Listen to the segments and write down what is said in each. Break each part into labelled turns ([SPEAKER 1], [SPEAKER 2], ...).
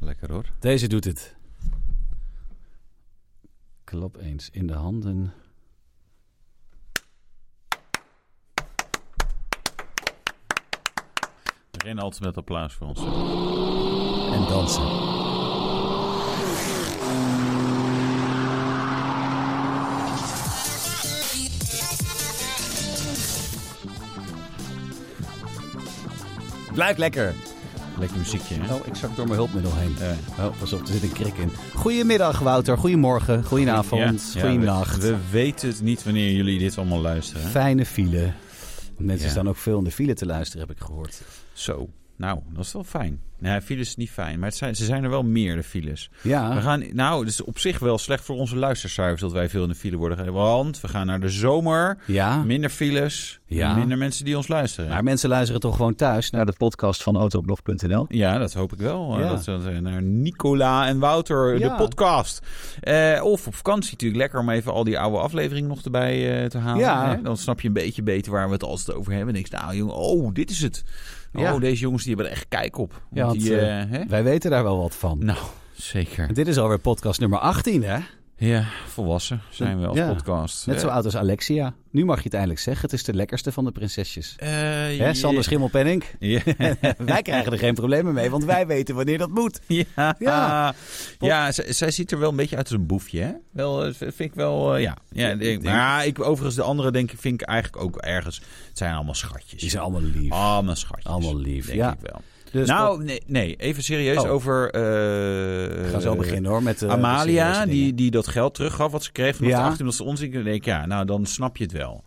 [SPEAKER 1] lekker hoor.
[SPEAKER 2] Deze doet het. Klap eens in de handen.
[SPEAKER 1] Begin altijd met applaus voor ons.
[SPEAKER 2] En dansen.
[SPEAKER 3] Blijf lekker.
[SPEAKER 1] Lekker muziekje, hè?
[SPEAKER 2] Oh, ik zak door mijn hulpmiddel heen. Oh, pas op, er zit een krik in. Goedemiddag Wouter, goedemorgen, goedenavond,
[SPEAKER 1] Ja, ja,
[SPEAKER 2] goedenacht.
[SPEAKER 1] we, we weten het niet wanneer jullie dit allemaal luisteren. hè?
[SPEAKER 2] Fijne file. Mensen
[SPEAKER 1] Ja.
[SPEAKER 2] staan ook veel in de file te luisteren, heb ik gehoord.
[SPEAKER 1] Zo, nou, dat is wel fijn. Nee, files is niet fijn, maar het zijn, ze zijn er wel meer, de files. We
[SPEAKER 2] Ja,
[SPEAKER 1] gaan, nou, het is op zich wel slecht voor onze luistercijfers dat wij veel in de file worden. gereden. Want we gaan naar de zomer,
[SPEAKER 2] ja.
[SPEAKER 1] minder files,
[SPEAKER 2] Ah. Ja.
[SPEAKER 1] minder mensen die ons luisteren.
[SPEAKER 2] Maar mensen luisteren toch gewoon thuis naar de podcast van autoblog.nl.
[SPEAKER 1] Ja, dat hoop ik wel.
[SPEAKER 2] Ja.
[SPEAKER 1] Eh, Dat, dat, eh, naar Nicola en Wouter,
[SPEAKER 2] Ja.
[SPEAKER 1] de podcast. Eh, of op vakantie natuurlijk. Lekker om even al die oude afleveringen nog erbij eh, te halen.
[SPEAKER 2] Ja.
[SPEAKER 1] Hè? Dan snap je een beetje beter waar we het altijd over hebben. En ik nou jongen, oh, dit is het. Oh,
[SPEAKER 2] Ja.
[SPEAKER 1] deze jongens die hebben er echt kijk op. Want
[SPEAKER 2] Ja, want,
[SPEAKER 1] die,
[SPEAKER 2] eh,
[SPEAKER 1] eh, hè?
[SPEAKER 2] Wij weten daar wel wat van.
[SPEAKER 1] Nou, zeker.
[SPEAKER 2] En dit is alweer podcast nummer 18, hè?
[SPEAKER 1] Ja, volwassen zijn we als
[SPEAKER 2] Ja.
[SPEAKER 1] podcast.
[SPEAKER 2] Net zo oud als Alexia. Nu mag je het eindelijk zeggen. Het is de lekkerste van de prinsesjes.
[SPEAKER 1] Eh,
[SPEAKER 2] Hè,
[SPEAKER 1] je-
[SPEAKER 2] Sander Schimmelpenning?
[SPEAKER 1] Ja.
[SPEAKER 2] wij krijgen er geen problemen mee, want wij weten wanneer dat moet.
[SPEAKER 1] Ja,
[SPEAKER 2] Ja.
[SPEAKER 1] ja. z- zij ziet er wel een beetje uit als een boefje, hè? Wel, eh, v- vind ik wel, eh, ja. ja ik, denk- maar ik, overigens, de andere denk ik, vind ik eigenlijk ook ergens... Het zijn allemaal
[SPEAKER 2] Die
[SPEAKER 1] schatjes.
[SPEAKER 2] zijn allemaal lief.
[SPEAKER 1] Allemaal schatjes.
[SPEAKER 2] Allemaal lief,
[SPEAKER 1] Denk
[SPEAKER 2] ja.
[SPEAKER 1] ik wel.
[SPEAKER 2] Dus op-
[SPEAKER 1] nou, nee, nee, even serieus
[SPEAKER 2] Oh.
[SPEAKER 1] over... eh,
[SPEAKER 2] we gaan zo
[SPEAKER 1] eh,
[SPEAKER 2] beginnen hoor met de
[SPEAKER 1] Amalia,
[SPEAKER 2] serieuze
[SPEAKER 1] die,
[SPEAKER 2] dingen.
[SPEAKER 1] die dat geld teruggaf wat ze kreeg vanaf
[SPEAKER 2] Ja.
[SPEAKER 1] de 18, omdat ze ons in denk ik, ja, nou, dan snap je het wel.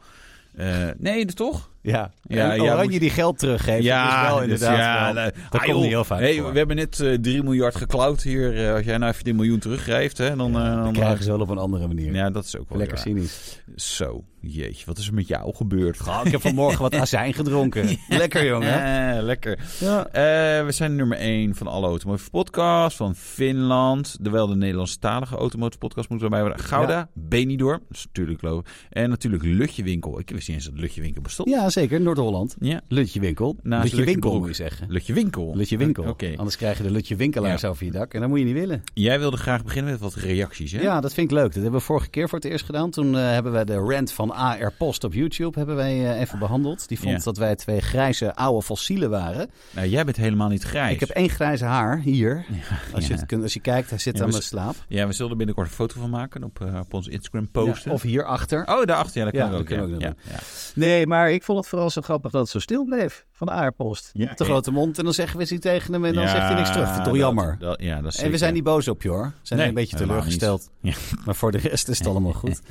[SPEAKER 1] Eh, nee, toch?
[SPEAKER 2] ja,
[SPEAKER 1] Ja,
[SPEAKER 2] en
[SPEAKER 1] ja,
[SPEAKER 2] Oranje
[SPEAKER 1] moet-
[SPEAKER 2] die geld teruggeeft. Ja, is wel
[SPEAKER 1] dus
[SPEAKER 2] inderdaad.
[SPEAKER 1] ja,
[SPEAKER 2] wel-
[SPEAKER 1] nou,
[SPEAKER 2] dat
[SPEAKER 1] ah,
[SPEAKER 2] komt
[SPEAKER 1] joh,
[SPEAKER 2] niet heel vaak
[SPEAKER 1] hey,
[SPEAKER 2] voor.
[SPEAKER 1] We hebben net eh 3 miljard geklauwd hier. Eh, als jij nou even die miljoen teruggeeft, hè, dan... eh,
[SPEAKER 2] Dat
[SPEAKER 1] dan eh,
[SPEAKER 2] krijgen ze wel op een andere manier.
[SPEAKER 1] ja, dat is ook wel
[SPEAKER 2] Lekker
[SPEAKER 1] weer
[SPEAKER 2] cynisch.
[SPEAKER 1] waar. Zo, jeetje, wat is er met jou gebeurd?
[SPEAKER 2] ik heb vanmorgen wat azijn gedronken. Lekker jongen.
[SPEAKER 1] Eh, lekker.
[SPEAKER 2] Oh, Ja.
[SPEAKER 1] Eh, we zijn nummer 1 van alle Automotive Podcasts van Finland. Terwijl de Nederlandstalige Automotive Podcast moet erbij worden. Gouda, Benidorm, dat is natuurlijk logisch. En natuurlijk Lutje Winkel. Ik wist niet eens dat Lutje Winkel bestond.
[SPEAKER 2] ja, zeker. Noord-Holland.
[SPEAKER 1] Ja.
[SPEAKER 2] Lutje Winkel.
[SPEAKER 1] Naast
[SPEAKER 2] Lutje Winkel
[SPEAKER 1] Lutjebroek.
[SPEAKER 2] moet je zeggen.
[SPEAKER 1] Lutje Winkel.
[SPEAKER 2] Lutje Winkel.
[SPEAKER 1] Oké.
[SPEAKER 2] Anders krijg je de Lutje Winkelaars
[SPEAKER 1] Ja.
[SPEAKER 2] over je dak. En dat moet je niet willen.
[SPEAKER 1] Jij wilde graag beginnen met wat reacties, hè?
[SPEAKER 2] Ja, dat vind ik leuk. Dat hebben we vorige keer voor het eerst gedaan. Toen eh, hebben we de rant van AR Post op YouTube hebben wij, eh, even behandeld. Die vond
[SPEAKER 1] Ja.
[SPEAKER 2] dat wij twee grijze oude fossielen waren.
[SPEAKER 1] Nou, jij bent helemaal niet grijs.
[SPEAKER 2] Ik heb één grijze haar hier. als, je
[SPEAKER 1] ja.
[SPEAKER 2] het kunt, als je kijkt, hij zit
[SPEAKER 1] Ja,
[SPEAKER 2] aan
[SPEAKER 1] we
[SPEAKER 2] mijn slaap.
[SPEAKER 1] Ja, we zullen er binnenkort een foto van maken op, eh, op ons Instagram
[SPEAKER 2] Ja,
[SPEAKER 1] posten.
[SPEAKER 2] of hierachter.
[SPEAKER 1] Oh, daarachter. Ja, dat
[SPEAKER 2] Ja,
[SPEAKER 1] kan
[SPEAKER 2] dat
[SPEAKER 1] ook.
[SPEAKER 2] kunnen we
[SPEAKER 1] Ja.
[SPEAKER 2] ook
[SPEAKER 1] Ja,
[SPEAKER 2] nog
[SPEAKER 1] ja.
[SPEAKER 3] Nee, maar ik vond het vooral zo grappig dat het zo stil bleef van de aardpost.
[SPEAKER 1] Ja,
[SPEAKER 2] Te grote mond en dan zeggen we iets tegen hem en dan
[SPEAKER 1] Ja,
[SPEAKER 2] zegt hij niks terug. Vind ik toch
[SPEAKER 1] dat-
[SPEAKER 2] jammer.
[SPEAKER 1] dat- ja, dat is
[SPEAKER 2] en we
[SPEAKER 1] zeker.
[SPEAKER 2] zijn niet boos op je hoor. We zijn
[SPEAKER 1] Nee,
[SPEAKER 2] een beetje
[SPEAKER 1] helemaal
[SPEAKER 2] teleurgesteld.
[SPEAKER 1] niet.
[SPEAKER 2] Maar voor de rest is het allemaal goed.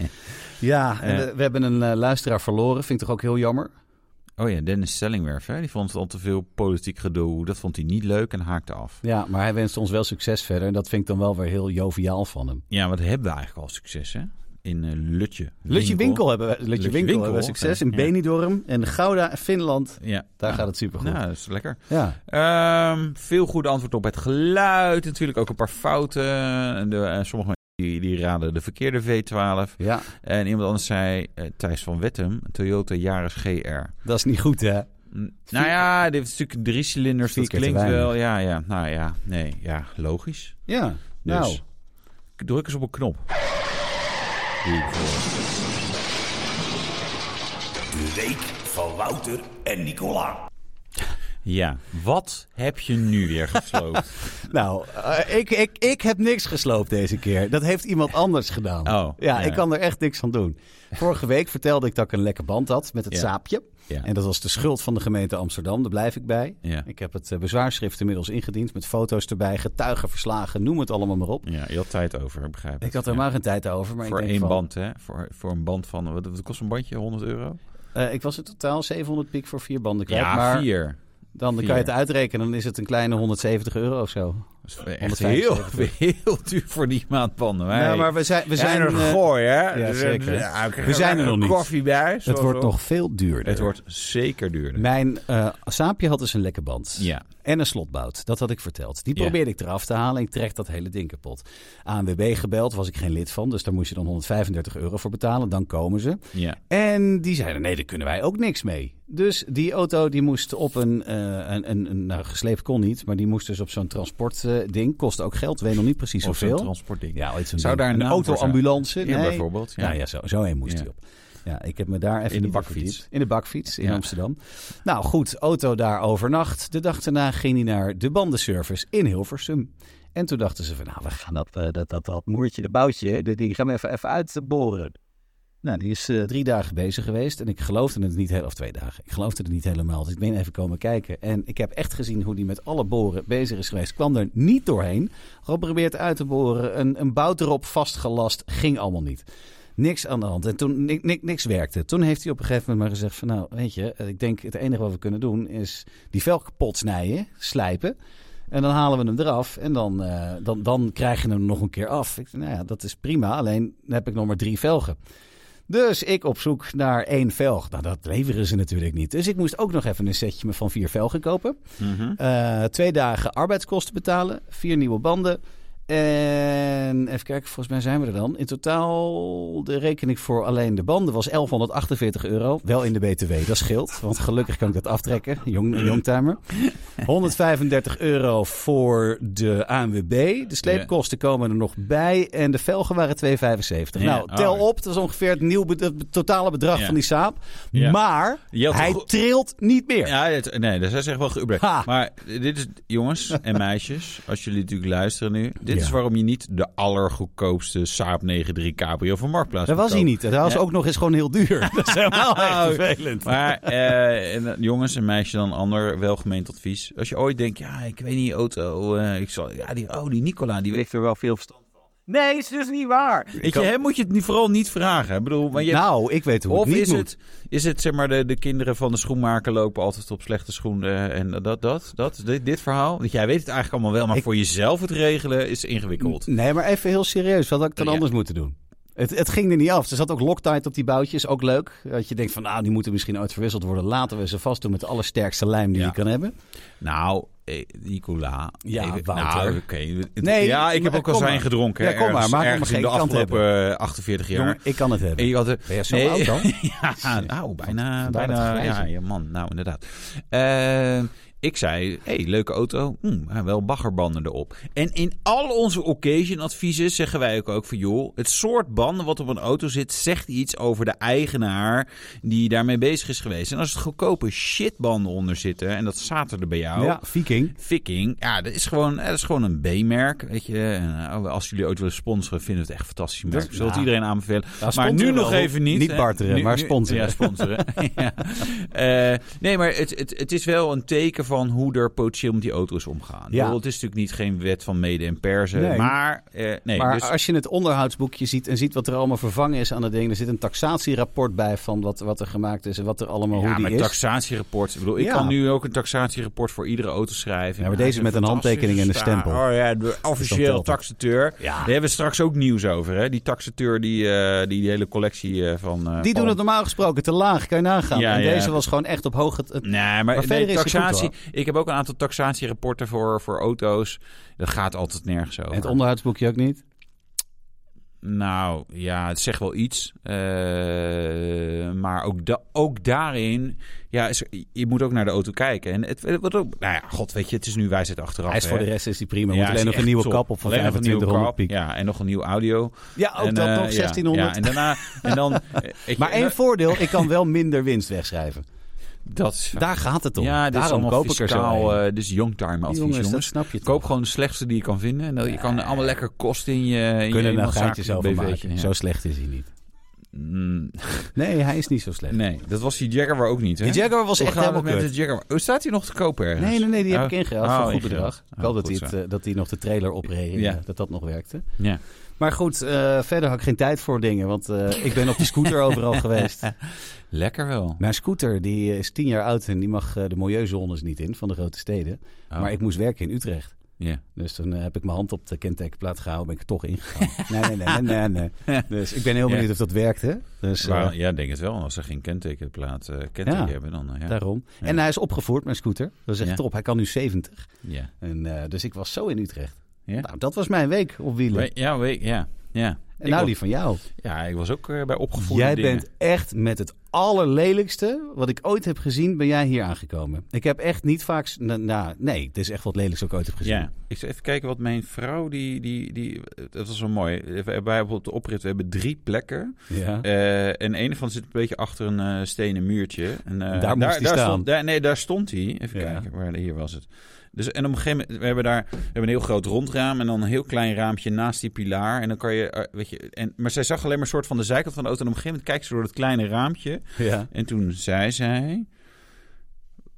[SPEAKER 2] Ja, en eh, we hebben een eh, luisteraar verloren. Vind ik toch ook heel jammer.
[SPEAKER 1] Oh ja, Dennis Sellingwerf, hè? die vond het al te veel politiek gedoe. Dat vond hij niet leuk en haakte af.
[SPEAKER 2] Ja, maar hij wenst ons wel succes verder. En dat vind ik dan wel weer heel joviaal van hem.
[SPEAKER 1] Ja, wat hebben we eigenlijk al succes, hè? In eh, Lutje.
[SPEAKER 2] Lutje Winkel hebben we, Lutje
[SPEAKER 1] Lutje
[SPEAKER 2] Winkel
[SPEAKER 1] Winkel,
[SPEAKER 2] hebben we succes. In
[SPEAKER 1] ja.
[SPEAKER 2] Benidorm en Gouda en Finland.
[SPEAKER 1] Ja.
[SPEAKER 2] Daar
[SPEAKER 1] Ja.
[SPEAKER 2] gaat het supergoed.
[SPEAKER 1] Nou, dat is lekker.
[SPEAKER 2] Ja.
[SPEAKER 1] Ehm, veel goede antwoord op het geluid. Natuurlijk ook een paar fouten. En de, en sommige mensen die, die raden de verkeerde V12.
[SPEAKER 2] ja,
[SPEAKER 1] En iemand anders zei, eh, Thijs van Wettem, een Toyota Yaris GR.
[SPEAKER 2] dat is niet goed hè.
[SPEAKER 1] Mm, Nou ja, dit is natuurlijk drie cilinders,
[SPEAKER 2] Vier
[SPEAKER 1] dat
[SPEAKER 2] keer te
[SPEAKER 1] klinkt
[SPEAKER 2] weinig.
[SPEAKER 1] wel. Ja, ja, nou ja, nee, ja, logisch.
[SPEAKER 2] Ja, nou.
[SPEAKER 1] Dus, druk eens op een knop.
[SPEAKER 3] De week van Wouter en Nicola.
[SPEAKER 1] Ja, wat heb je nu weer gesloopt?
[SPEAKER 2] Nou, eh, ik, ik, ik heb niks gesloopt deze keer. Dat heeft iemand anders gedaan.
[SPEAKER 1] Oh,
[SPEAKER 2] ja,
[SPEAKER 1] ja.
[SPEAKER 2] ik kan er echt niks aan doen. Vorige week vertelde ik dat ik een lekker band had met het
[SPEAKER 1] Ja.
[SPEAKER 2] saapje.
[SPEAKER 1] Ja.
[SPEAKER 2] En dat was de schuld van de gemeente Amsterdam. Daar blijf ik bij.
[SPEAKER 1] Ja.
[SPEAKER 2] Ik heb het eh, bezwaarschrift inmiddels ingediend met foto's erbij, getuigen, verslagen, noem het allemaal maar op.
[SPEAKER 1] ja, je had tijd over, begrijp ik.
[SPEAKER 2] Ik had er
[SPEAKER 1] Ja.
[SPEAKER 2] maar geen tijd over. Maar
[SPEAKER 1] Voor
[SPEAKER 2] ik denk
[SPEAKER 1] één
[SPEAKER 2] van,
[SPEAKER 1] band, hè? Voor, voor een band van, wat, wat kost een bandje? 100 euro?
[SPEAKER 2] Eh, ik was in totaal 700 piek voor vier banden kwijt.
[SPEAKER 1] Ja,
[SPEAKER 2] maar
[SPEAKER 1] vier.
[SPEAKER 2] dan
[SPEAKER 1] vier.
[SPEAKER 2] kan je het uitrekenen, dan is het een kleine 170 euro of zo.
[SPEAKER 1] Dat is echt heel, heel duur voor die maatbanden. Wij
[SPEAKER 2] Nou, maar we zijn, we zijn
[SPEAKER 1] zijn er
[SPEAKER 2] eh,
[SPEAKER 1] gooi, hè?
[SPEAKER 2] ja,
[SPEAKER 1] Dus,
[SPEAKER 2] zeker.
[SPEAKER 1] eh, ik-
[SPEAKER 2] We zijn er nog niet.
[SPEAKER 1] Koffie bij.
[SPEAKER 2] het
[SPEAKER 1] zoals
[SPEAKER 2] wordt
[SPEAKER 1] ook.
[SPEAKER 2] nog veel duurder.
[SPEAKER 1] Het wordt zeker duurder.
[SPEAKER 2] Mijn eh saapje had dus een lekke band.
[SPEAKER 1] Ja.
[SPEAKER 2] En een slotbout, dat had ik verteld. Die
[SPEAKER 1] Ja.
[SPEAKER 2] probeerde ik eraf te halen. Ik trek dat hele ding kapot. ANWB gebeld, was ik geen lid van. Dus daar moest je dan 135 euro voor betalen. Dan komen ze.
[SPEAKER 1] ja.
[SPEAKER 2] En die zeiden, nee, daar kunnen wij ook niks mee. Dus die auto die moest op een, eh, een, een, een- nou gesleept kon niet, maar die moest dus op zo'n transportding. ding Kostte ook geld, weet nog niet precies
[SPEAKER 1] Of zo'n
[SPEAKER 2] hoeveel.
[SPEAKER 1] transportding.
[SPEAKER 2] Ja, ooit zo'n
[SPEAKER 1] Zou
[SPEAKER 2] ding.
[SPEAKER 1] daar een auto-
[SPEAKER 2] autoambulance?
[SPEAKER 1] Ja,
[SPEAKER 2] Nee.
[SPEAKER 1] bijvoorbeeld. Ja.
[SPEAKER 2] Ja, Nou ja zo, zo heen moest
[SPEAKER 1] Ja.
[SPEAKER 2] hij op. Ja, ik heb me daar even
[SPEAKER 1] In de
[SPEAKER 2] niet
[SPEAKER 1] bakfiets.
[SPEAKER 2] verdiept. In de bakfiets in
[SPEAKER 1] Ja.
[SPEAKER 2] Amsterdam. Nou goed, auto daar overnacht. De dag daarna ging hij naar de bandenservice in Hilversum. En toen dachten ze van, nou, we gaan...
[SPEAKER 3] gaan dat, eh, dat, dat, dat moertje, dat boutje, die, die gaan we even, even uitboren.
[SPEAKER 2] Nou, die is eh, drie dagen bezig geweest en ik geloofde het niet helemaal, of twee dagen. Ik geloofde het niet helemaal, dus ik ben even komen kijken. En ik heb echt gezien hoe die met alle boren bezig is geweest. Kwam er niet doorheen, geprobeerd uit te boren, een, een bout erop vastgelast, ging allemaal niet. Niks aan de hand. En toen ni- ni- niks werkte. Toen heeft hij op een gegeven moment maar gezegd van... nou, weet je, eh, ik denk het enige wat we kunnen doen is die vel kapot snijden, slijpen. En dan halen we hem eraf en dan, eh, dan, dan krijg je hem nog een keer af. Ik zei, nou ja, dat is prima, alleen dan heb ik nog maar drie velgen. Dus ik op zoek naar één velg. Nou, dat leveren ze natuurlijk niet. Dus ik moest ook nog even een setje van vier velgen kopen.
[SPEAKER 1] Mhm.
[SPEAKER 2] Eh, twee dagen arbeidskosten betalen. Vier nieuwe banden. En even kijken, volgens mij zijn we er dan. In totaal, de rekening voor alleen de banden was 1148 euro. Wel in de BTW, dat scheelt. Want gelukkig kan ik dat aftrekken, jong, jongtimer. 135 euro voor de ANWB. De sleepkosten komen er nog bij. En de velgen waren 2,75.
[SPEAKER 1] Ja,
[SPEAKER 2] nou, tel
[SPEAKER 1] oh.
[SPEAKER 2] op. Dat is ongeveer het, nieuw, be- het totale bedrag
[SPEAKER 1] Ja.
[SPEAKER 2] van die saap.
[SPEAKER 1] Ja.
[SPEAKER 2] Maar
[SPEAKER 1] Je had
[SPEAKER 2] hij
[SPEAKER 1] goed-
[SPEAKER 2] trilt niet meer.
[SPEAKER 1] Ja, het- nee, dat is echt wel geübrecht.
[SPEAKER 2] Ha.
[SPEAKER 1] Maar dit is, jongens en meisjes, als jullie natuurlijk luisteren nu. Dit
[SPEAKER 2] Ja.
[SPEAKER 1] is waarom je niet de allergoedkoopste Saab 93 Cabrio van Marktplaats
[SPEAKER 2] Dat
[SPEAKER 1] moet
[SPEAKER 2] was hij
[SPEAKER 1] kopen.
[SPEAKER 2] niet. Dat was
[SPEAKER 1] Ja. Oh,
[SPEAKER 2] ook nog eens gewoon heel duur. Dat is helemaal echt vervelend.
[SPEAKER 1] Maar eh, en, eh, jongens en meisjes dan ander welgemeend advies. Als je ooit denkt, ja, ik weet niet, auto, eh, ik zal, ja, die, oh, die Nicola, die
[SPEAKER 3] Die
[SPEAKER 1] weet.
[SPEAKER 3] heeft er wel veel verstand van. Nee, is dus niet waar.
[SPEAKER 1] Weet je, hem moet je het niet- vooral niet vragen. Ik bedoel, maar je
[SPEAKER 2] Nou, ik weet hoe
[SPEAKER 1] Of
[SPEAKER 2] het niet
[SPEAKER 1] is
[SPEAKER 2] moet.
[SPEAKER 1] het, is het, zeg maar, de, de kinderen van de schoenmaker lopen altijd op slechte schoenen en dat, dat, dat, dit, dit verhaal? Want jij weet het eigenlijk allemaal wel, maar
[SPEAKER 2] Ik-
[SPEAKER 1] voor jezelf het regelen is ingewikkeld.
[SPEAKER 2] Nee, maar even heel serieus. Wat had ik dan
[SPEAKER 1] Ja.
[SPEAKER 2] anders moeten doen? Het, het ging er niet af. Er zat ook Loctite op die boutjes. Ook leuk. Dat je denkt van, nou, die moeten misschien ooit verwisseld worden. Laten we ze vastdoen met de allersterkste lijm die
[SPEAKER 1] Ja.
[SPEAKER 2] je kan hebben.
[SPEAKER 1] Nou, eh, Nicola.
[SPEAKER 2] Ja,
[SPEAKER 1] ik-
[SPEAKER 2] Wouter.
[SPEAKER 1] nou, oké. Het-
[SPEAKER 2] Nee,
[SPEAKER 1] ja, ik heb
[SPEAKER 2] maar
[SPEAKER 1] ook al
[SPEAKER 2] kom
[SPEAKER 1] zijn
[SPEAKER 2] maar.
[SPEAKER 1] gedronken.
[SPEAKER 2] Ja,
[SPEAKER 1] hè,
[SPEAKER 2] kom maar,
[SPEAKER 1] ergens,
[SPEAKER 2] maak er
[SPEAKER 1] ergens
[SPEAKER 2] maar
[SPEAKER 1] in de
[SPEAKER 2] geen kant
[SPEAKER 1] afgelopen eh, 48 jaar.
[SPEAKER 2] Jongen, ik kan het hebben.
[SPEAKER 1] En je had er-
[SPEAKER 2] Ben je zo
[SPEAKER 1] nee,
[SPEAKER 2] oud dan?
[SPEAKER 1] ja, nou, bijna.
[SPEAKER 2] Vandaar dat
[SPEAKER 1] bijna ja,
[SPEAKER 2] grijze.
[SPEAKER 1] ja, man, nou inderdaad. Eh, ik zei, hé, hey, leuke auto. Hm, wel baggerbanden erop. En in al onze occasion-adviezen zeggen wij ook, ook van... joh, het soort banden wat op een auto zit... zegt iets over de eigenaar die daarmee bezig is geweest. En als het goedkope shitbanden onder zitten... en dat zaten er bij jou...
[SPEAKER 2] Ja, viking.
[SPEAKER 1] Viking, ja, dat is gewoon, eh, dat is gewoon een B-merk, weet je. En, eh, als jullie ooit willen sponsoren, vinden we het echt een fantastisch merk.
[SPEAKER 2] Dat-
[SPEAKER 1] Ik zal het
[SPEAKER 2] ja.
[SPEAKER 1] iedereen aanbevelen.
[SPEAKER 2] Ja,
[SPEAKER 1] maar
[SPEAKER 2] sponsoren
[SPEAKER 1] nu nog
[SPEAKER 2] wel.
[SPEAKER 1] even niet.
[SPEAKER 2] Niet
[SPEAKER 1] hè.
[SPEAKER 2] barteren,
[SPEAKER 1] Nu-
[SPEAKER 2] maar
[SPEAKER 1] nu-
[SPEAKER 2] sponsoren.
[SPEAKER 1] Ja, sponsoren. ja. Eh, nee, maar het, het, het is wel een teken van hoe er potentieel met die auto is omgaan.
[SPEAKER 2] Ja.
[SPEAKER 1] Ja. het is natuurlijk niet geen wet van mede en persen,
[SPEAKER 2] Nee.
[SPEAKER 1] maar... eh, nee,
[SPEAKER 2] maar
[SPEAKER 1] dus,
[SPEAKER 2] als je het onderhoudsboekje ziet en ziet wat er allemaal vervangen is aan het ding. Er zit een taxatierapport bij van wat, wat er gemaakt is en wat er allemaal,
[SPEAKER 1] ja,
[SPEAKER 2] hoe die
[SPEAKER 1] maar
[SPEAKER 2] is.
[SPEAKER 1] taxatierapport. Ik bedoel, ik
[SPEAKER 2] Ja.
[SPEAKER 1] kan nu ook een taxatierapport voor iedere auto schrijven.
[SPEAKER 2] Ja, maar deze met een
[SPEAKER 1] fantastische
[SPEAKER 2] handtekening en een
[SPEAKER 1] sta-
[SPEAKER 2] stempel.
[SPEAKER 1] Oh ja, de
[SPEAKER 2] dat
[SPEAKER 1] officieel
[SPEAKER 2] telt.
[SPEAKER 1] taxateur.
[SPEAKER 2] Ja.
[SPEAKER 1] Daar hebben we straks ook nieuws over. Hè? Die taxateur die, eh, die die hele collectie eh, van... eh,
[SPEAKER 2] Die doen
[SPEAKER 1] Paul-
[SPEAKER 2] het normaal gesproken te laag, kan je nagaan.
[SPEAKER 1] Ja,
[SPEAKER 2] en
[SPEAKER 1] ja.
[SPEAKER 2] deze was gewoon echt op hoog... Het, het-
[SPEAKER 1] Nee, maar,
[SPEAKER 2] verder
[SPEAKER 1] nee,
[SPEAKER 2] is het goed,
[SPEAKER 1] taxatie. ik heb ook een aantal taxatierapporten voor, voor auto's. Dat gaat altijd nergens over.
[SPEAKER 2] en het onderhoudsboekje ook niet.
[SPEAKER 1] Nou ja, het zegt wel iets. Eh, maar ook, da- ook daarin. Ja, is- je moet ook naar de auto kijken. En het wordt ook. Nou ja, god, weet je, het is nu wijsheid achteraf.
[SPEAKER 2] Hij is voor
[SPEAKER 1] hè.
[SPEAKER 2] de rest is die prima.
[SPEAKER 1] Ja,
[SPEAKER 2] want
[SPEAKER 1] is
[SPEAKER 2] alleen nog een
[SPEAKER 1] echt
[SPEAKER 2] nieuwe
[SPEAKER 1] top.
[SPEAKER 2] kap op van
[SPEAKER 1] Alleen nog een nieuwe
[SPEAKER 2] 2500
[SPEAKER 1] kap,
[SPEAKER 2] piek.
[SPEAKER 1] Ja, en nog een nieuw audio.
[SPEAKER 2] Ja, ook
[SPEAKER 1] en,
[SPEAKER 2] dat
[SPEAKER 1] eh,
[SPEAKER 2] nog,
[SPEAKER 1] ja,
[SPEAKER 2] 1600.
[SPEAKER 1] Ja, en daarna. En dan, eh, weet je,
[SPEAKER 2] Maar
[SPEAKER 1] en
[SPEAKER 2] één
[SPEAKER 1] dan-
[SPEAKER 2] voordeel, ik kan wel minder winst wegschrijven.
[SPEAKER 1] Dat is.
[SPEAKER 2] Daar gaat het om.
[SPEAKER 1] Ja, dit is
[SPEAKER 2] Daarom
[SPEAKER 1] allemaal
[SPEAKER 2] koop ik er zo
[SPEAKER 1] fiscaal.
[SPEAKER 2] een.
[SPEAKER 1] eh, dit is youngtime advies,
[SPEAKER 2] jongens,
[SPEAKER 1] jongens.
[SPEAKER 2] dat snap je toch.
[SPEAKER 1] Koop gewoon de slechtste die je kan vinden. En dan, je kan allemaal lekker kosten in je. in je
[SPEAKER 2] Kunnen er nou
[SPEAKER 1] eenmaal
[SPEAKER 2] gaatjes
[SPEAKER 1] zakelijk
[SPEAKER 2] over
[SPEAKER 1] BV'tje,
[SPEAKER 2] maken.
[SPEAKER 1] ja.
[SPEAKER 2] Zo slecht is hij niet.
[SPEAKER 1] Mm,
[SPEAKER 2] Nee, hij is niet zo slecht.
[SPEAKER 1] nee, dat was die Jaguar ook niet. Hè?
[SPEAKER 2] Die Jaguar was
[SPEAKER 1] Hoe
[SPEAKER 2] echt
[SPEAKER 1] gaat het
[SPEAKER 2] helemaal
[SPEAKER 1] met
[SPEAKER 2] kut.
[SPEAKER 1] de Jaguar. Oh, staat hij nog te koop ergens?
[SPEAKER 2] Nee, nee, nee, die heb
[SPEAKER 1] Oh.
[SPEAKER 2] ik ingehaald
[SPEAKER 1] Oh,
[SPEAKER 2] voor een goed
[SPEAKER 1] ingehaald.
[SPEAKER 2] bedrag.
[SPEAKER 1] Oh,
[SPEAKER 2] wel dat
[SPEAKER 1] goed
[SPEAKER 2] hij, het,
[SPEAKER 1] zo.
[SPEAKER 2] eh, dat hij nog de trailer opreed, eh,
[SPEAKER 1] Ja.
[SPEAKER 2] dat dat nog werkte.
[SPEAKER 1] Ja.
[SPEAKER 2] Maar goed, eh, verder had ik geen tijd voor dingen, want eh, ik ben op die scooter overal geweest.
[SPEAKER 1] Lekker wel.
[SPEAKER 2] Mijn scooter die eh, is tien jaar oud en die mag eh, de milieuzones niet in van de grote steden.
[SPEAKER 1] Oh,
[SPEAKER 2] Maar ik moest werken in Utrecht.
[SPEAKER 1] ja.
[SPEAKER 2] Dus toen eh, heb ik mijn hand op de kentekenplaat gehouden, ben ik er toch ingegaan. nee, nee, nee, nee, nee. Dus ik ben heel benieuwd of dat werkte. Dus eh,
[SPEAKER 1] Waar- ja, ik denk het wel. Als ze geen kentekenplaat eh, kenteken
[SPEAKER 2] Ja.
[SPEAKER 1] hebben, dan eh, ja.
[SPEAKER 2] daarom.
[SPEAKER 1] Ja.
[SPEAKER 2] En hij is opgevoerd, mijn scooter. Dat is echt
[SPEAKER 1] Ja.
[SPEAKER 2] top. Hij kan nu 70.
[SPEAKER 1] ja.
[SPEAKER 2] En, eh, dus ik was zo in Utrecht.
[SPEAKER 1] Ja?
[SPEAKER 2] Nou, dat was mijn week op wielen.
[SPEAKER 1] We- Ja, we- ja. Ja.
[SPEAKER 2] En
[SPEAKER 1] Ik
[SPEAKER 2] nou
[SPEAKER 1] was-
[SPEAKER 2] die van jou.
[SPEAKER 1] Ja, ik was ook eh, bij opgevoed.
[SPEAKER 2] Jij bent echt met het allerlelijkste wat ik ooit heb gezien, ben jij hier aangekomen. Ik heb echt niet vaak... s- Nou, nou, nee, dit is echt wat lelijkste wat ik ooit heb gezien.
[SPEAKER 1] Ja, ik zal even kijken wat mijn vrouw, die, die, die dat was wel mooi. Wij hebben bijvoorbeeld de oprit, we hebben drie plekken.
[SPEAKER 2] Ja.
[SPEAKER 1] Eh, en een van zit een beetje achter een eh, stenen muurtje. En, eh,
[SPEAKER 2] Daar moest hij staan.
[SPEAKER 1] Stond, daar, nee, daar stond hij. Even
[SPEAKER 2] Ja.
[SPEAKER 1] kijken, waar, hier was het. Dus, en op een gegeven moment, we hebben daar we hebben een heel groot rond raam en dan een heel klein raampje naast die pilaar. En dan kan je, eh, weet je, en, maar zij zag alleen maar soort van de zijkant van de auto. En op een gegeven moment kijkt ze door dat kleine raampje.
[SPEAKER 2] ja.
[SPEAKER 1] En toen zei zij.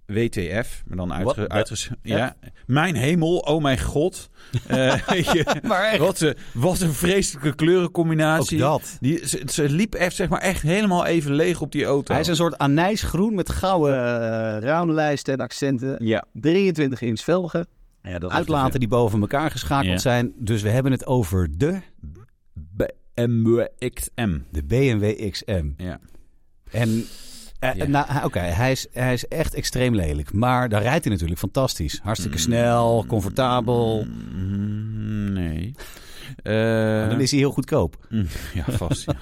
[SPEAKER 1] WTF, maar dan
[SPEAKER 2] What
[SPEAKER 1] uitge,
[SPEAKER 2] the
[SPEAKER 1] uitges- Ja. Mijn hemel, oh mijn god. Eh, weet je,
[SPEAKER 2] Maar echt,
[SPEAKER 1] wat, een, wat een vreselijke kleurencombinatie.
[SPEAKER 2] ook dat.
[SPEAKER 1] Die, ze, ze liep echt, zeg maar, echt helemaal even leeg op die auto.
[SPEAKER 2] Hij is een soort anijsgroen met gouden...
[SPEAKER 3] Eh raamlijsten en accenten.
[SPEAKER 1] ja.
[SPEAKER 3] 23 inch velgen.
[SPEAKER 1] ja dat
[SPEAKER 2] uitlaten die boven elkaar geschakeld
[SPEAKER 1] Ja.
[SPEAKER 2] zijn. Dus we hebben het over de,
[SPEAKER 1] BMW XM.
[SPEAKER 2] de BMW XM.
[SPEAKER 1] Ja.
[SPEAKER 2] En eh,
[SPEAKER 1] Ja.
[SPEAKER 2] nou, hij- oké, hij, is, hij is echt extreem lelijk. Maar daar rijdt hij natuurlijk fantastisch. Hartstikke snel, comfortabel.
[SPEAKER 1] Mm, nee. Eh,
[SPEAKER 2] En dan is hij heel goedkoop.
[SPEAKER 1] Mm, Ja, vast. ja.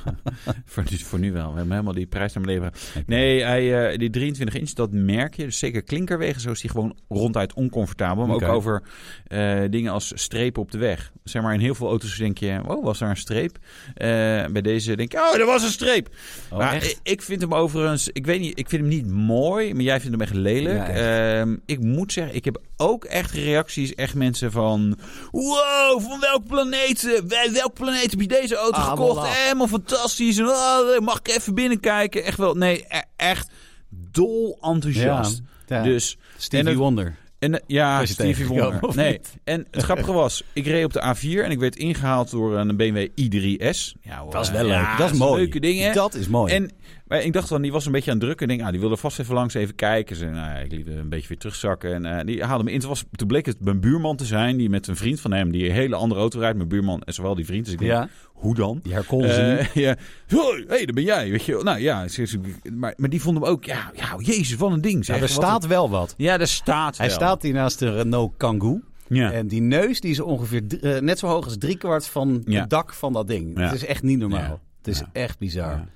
[SPEAKER 1] voor, nu, voor nu wel. We hebben helemaal die prijs naar beneden. Nee, hij, eh, die 23 inch, dat merk je. Dus zeker klinkerwegen, zo is die gewoon ronduit oncomfortabel. Maar
[SPEAKER 2] Oké.
[SPEAKER 1] ook over eh, dingen als strepen op de weg. Zeg maar, in heel veel auto's denk je, oh, was daar een streep? Eh, bij deze denk je, oh, er was een streep.
[SPEAKER 2] Oh,
[SPEAKER 1] maar ik, ik vind hem overigens, ik weet niet, ik vind hem niet mooi, maar jij vindt hem echt lelijk.
[SPEAKER 2] Ja, echt.
[SPEAKER 1] Ehm, ik moet zeggen, ik heb ook echt reacties, echt mensen van, wow, van welk planeet, eh, wel- welk planeet heb je deze auto
[SPEAKER 2] Ah,
[SPEAKER 1] gekocht?
[SPEAKER 2] voilà.
[SPEAKER 1] Helemaal fantastisch. En, ah, mag ik even binnenkijken? Echt wel, nee, e- echt dol enthousiast.
[SPEAKER 2] Ja.
[SPEAKER 1] Dus,
[SPEAKER 2] Stevie
[SPEAKER 1] en het-
[SPEAKER 2] Wonder.
[SPEAKER 1] en eh, ja,
[SPEAKER 2] Was je
[SPEAKER 1] Stevie
[SPEAKER 2] tegengekomen,
[SPEAKER 1] Wonder.
[SPEAKER 2] of
[SPEAKER 1] Nee.
[SPEAKER 2] niet?
[SPEAKER 1] En het grappige was, ik reed op de A4 en ik werd ingehaald door een BMW i3S. Ja, hoor,
[SPEAKER 2] Dat is wel
[SPEAKER 1] ja,
[SPEAKER 2] leuk. dat is mooi.
[SPEAKER 1] Leuke dingen.
[SPEAKER 2] Dat is mooi.
[SPEAKER 1] En maar ik dacht dan, die was een beetje aan het drukken. Ik denk, ah, die wilde vast even langs even kijken. Ze, nou, ja, ik liet hem een beetje weer terugzakken. En eh, die haalde me in. Toen, was, toen bleek het mijn buurman te zijn, die met een vriend van hem, die een hele andere auto rijdt. Mijn buurman en zowel die vriend. Dus ik denk,
[SPEAKER 2] ja,
[SPEAKER 1] hoe dan?
[SPEAKER 2] die herkonden ze niet.
[SPEAKER 1] Eh, ja. Hoi, hey, daar ben jij. Weet je. wel. Nou ja, ze- ze- maar, maar die vond hem ook, ja, ja jezus, wat een ding. Zeg.
[SPEAKER 2] Nou, er
[SPEAKER 1] Wat
[SPEAKER 2] staat wel wat.
[SPEAKER 1] een- ja, daar staat
[SPEAKER 2] Hij
[SPEAKER 1] wel.
[SPEAKER 2] staat hier naast de Renault Kangoo.
[SPEAKER 1] Ja.
[SPEAKER 2] En die neus die is ongeveer drie- eh, net zo hoog als driekwart van
[SPEAKER 1] Ja.
[SPEAKER 2] het dak van dat ding.
[SPEAKER 1] Ja.
[SPEAKER 2] Het is echt niet normaal.
[SPEAKER 1] Ja.
[SPEAKER 2] Het is
[SPEAKER 1] Ja.
[SPEAKER 2] echt bizar.
[SPEAKER 1] Ja.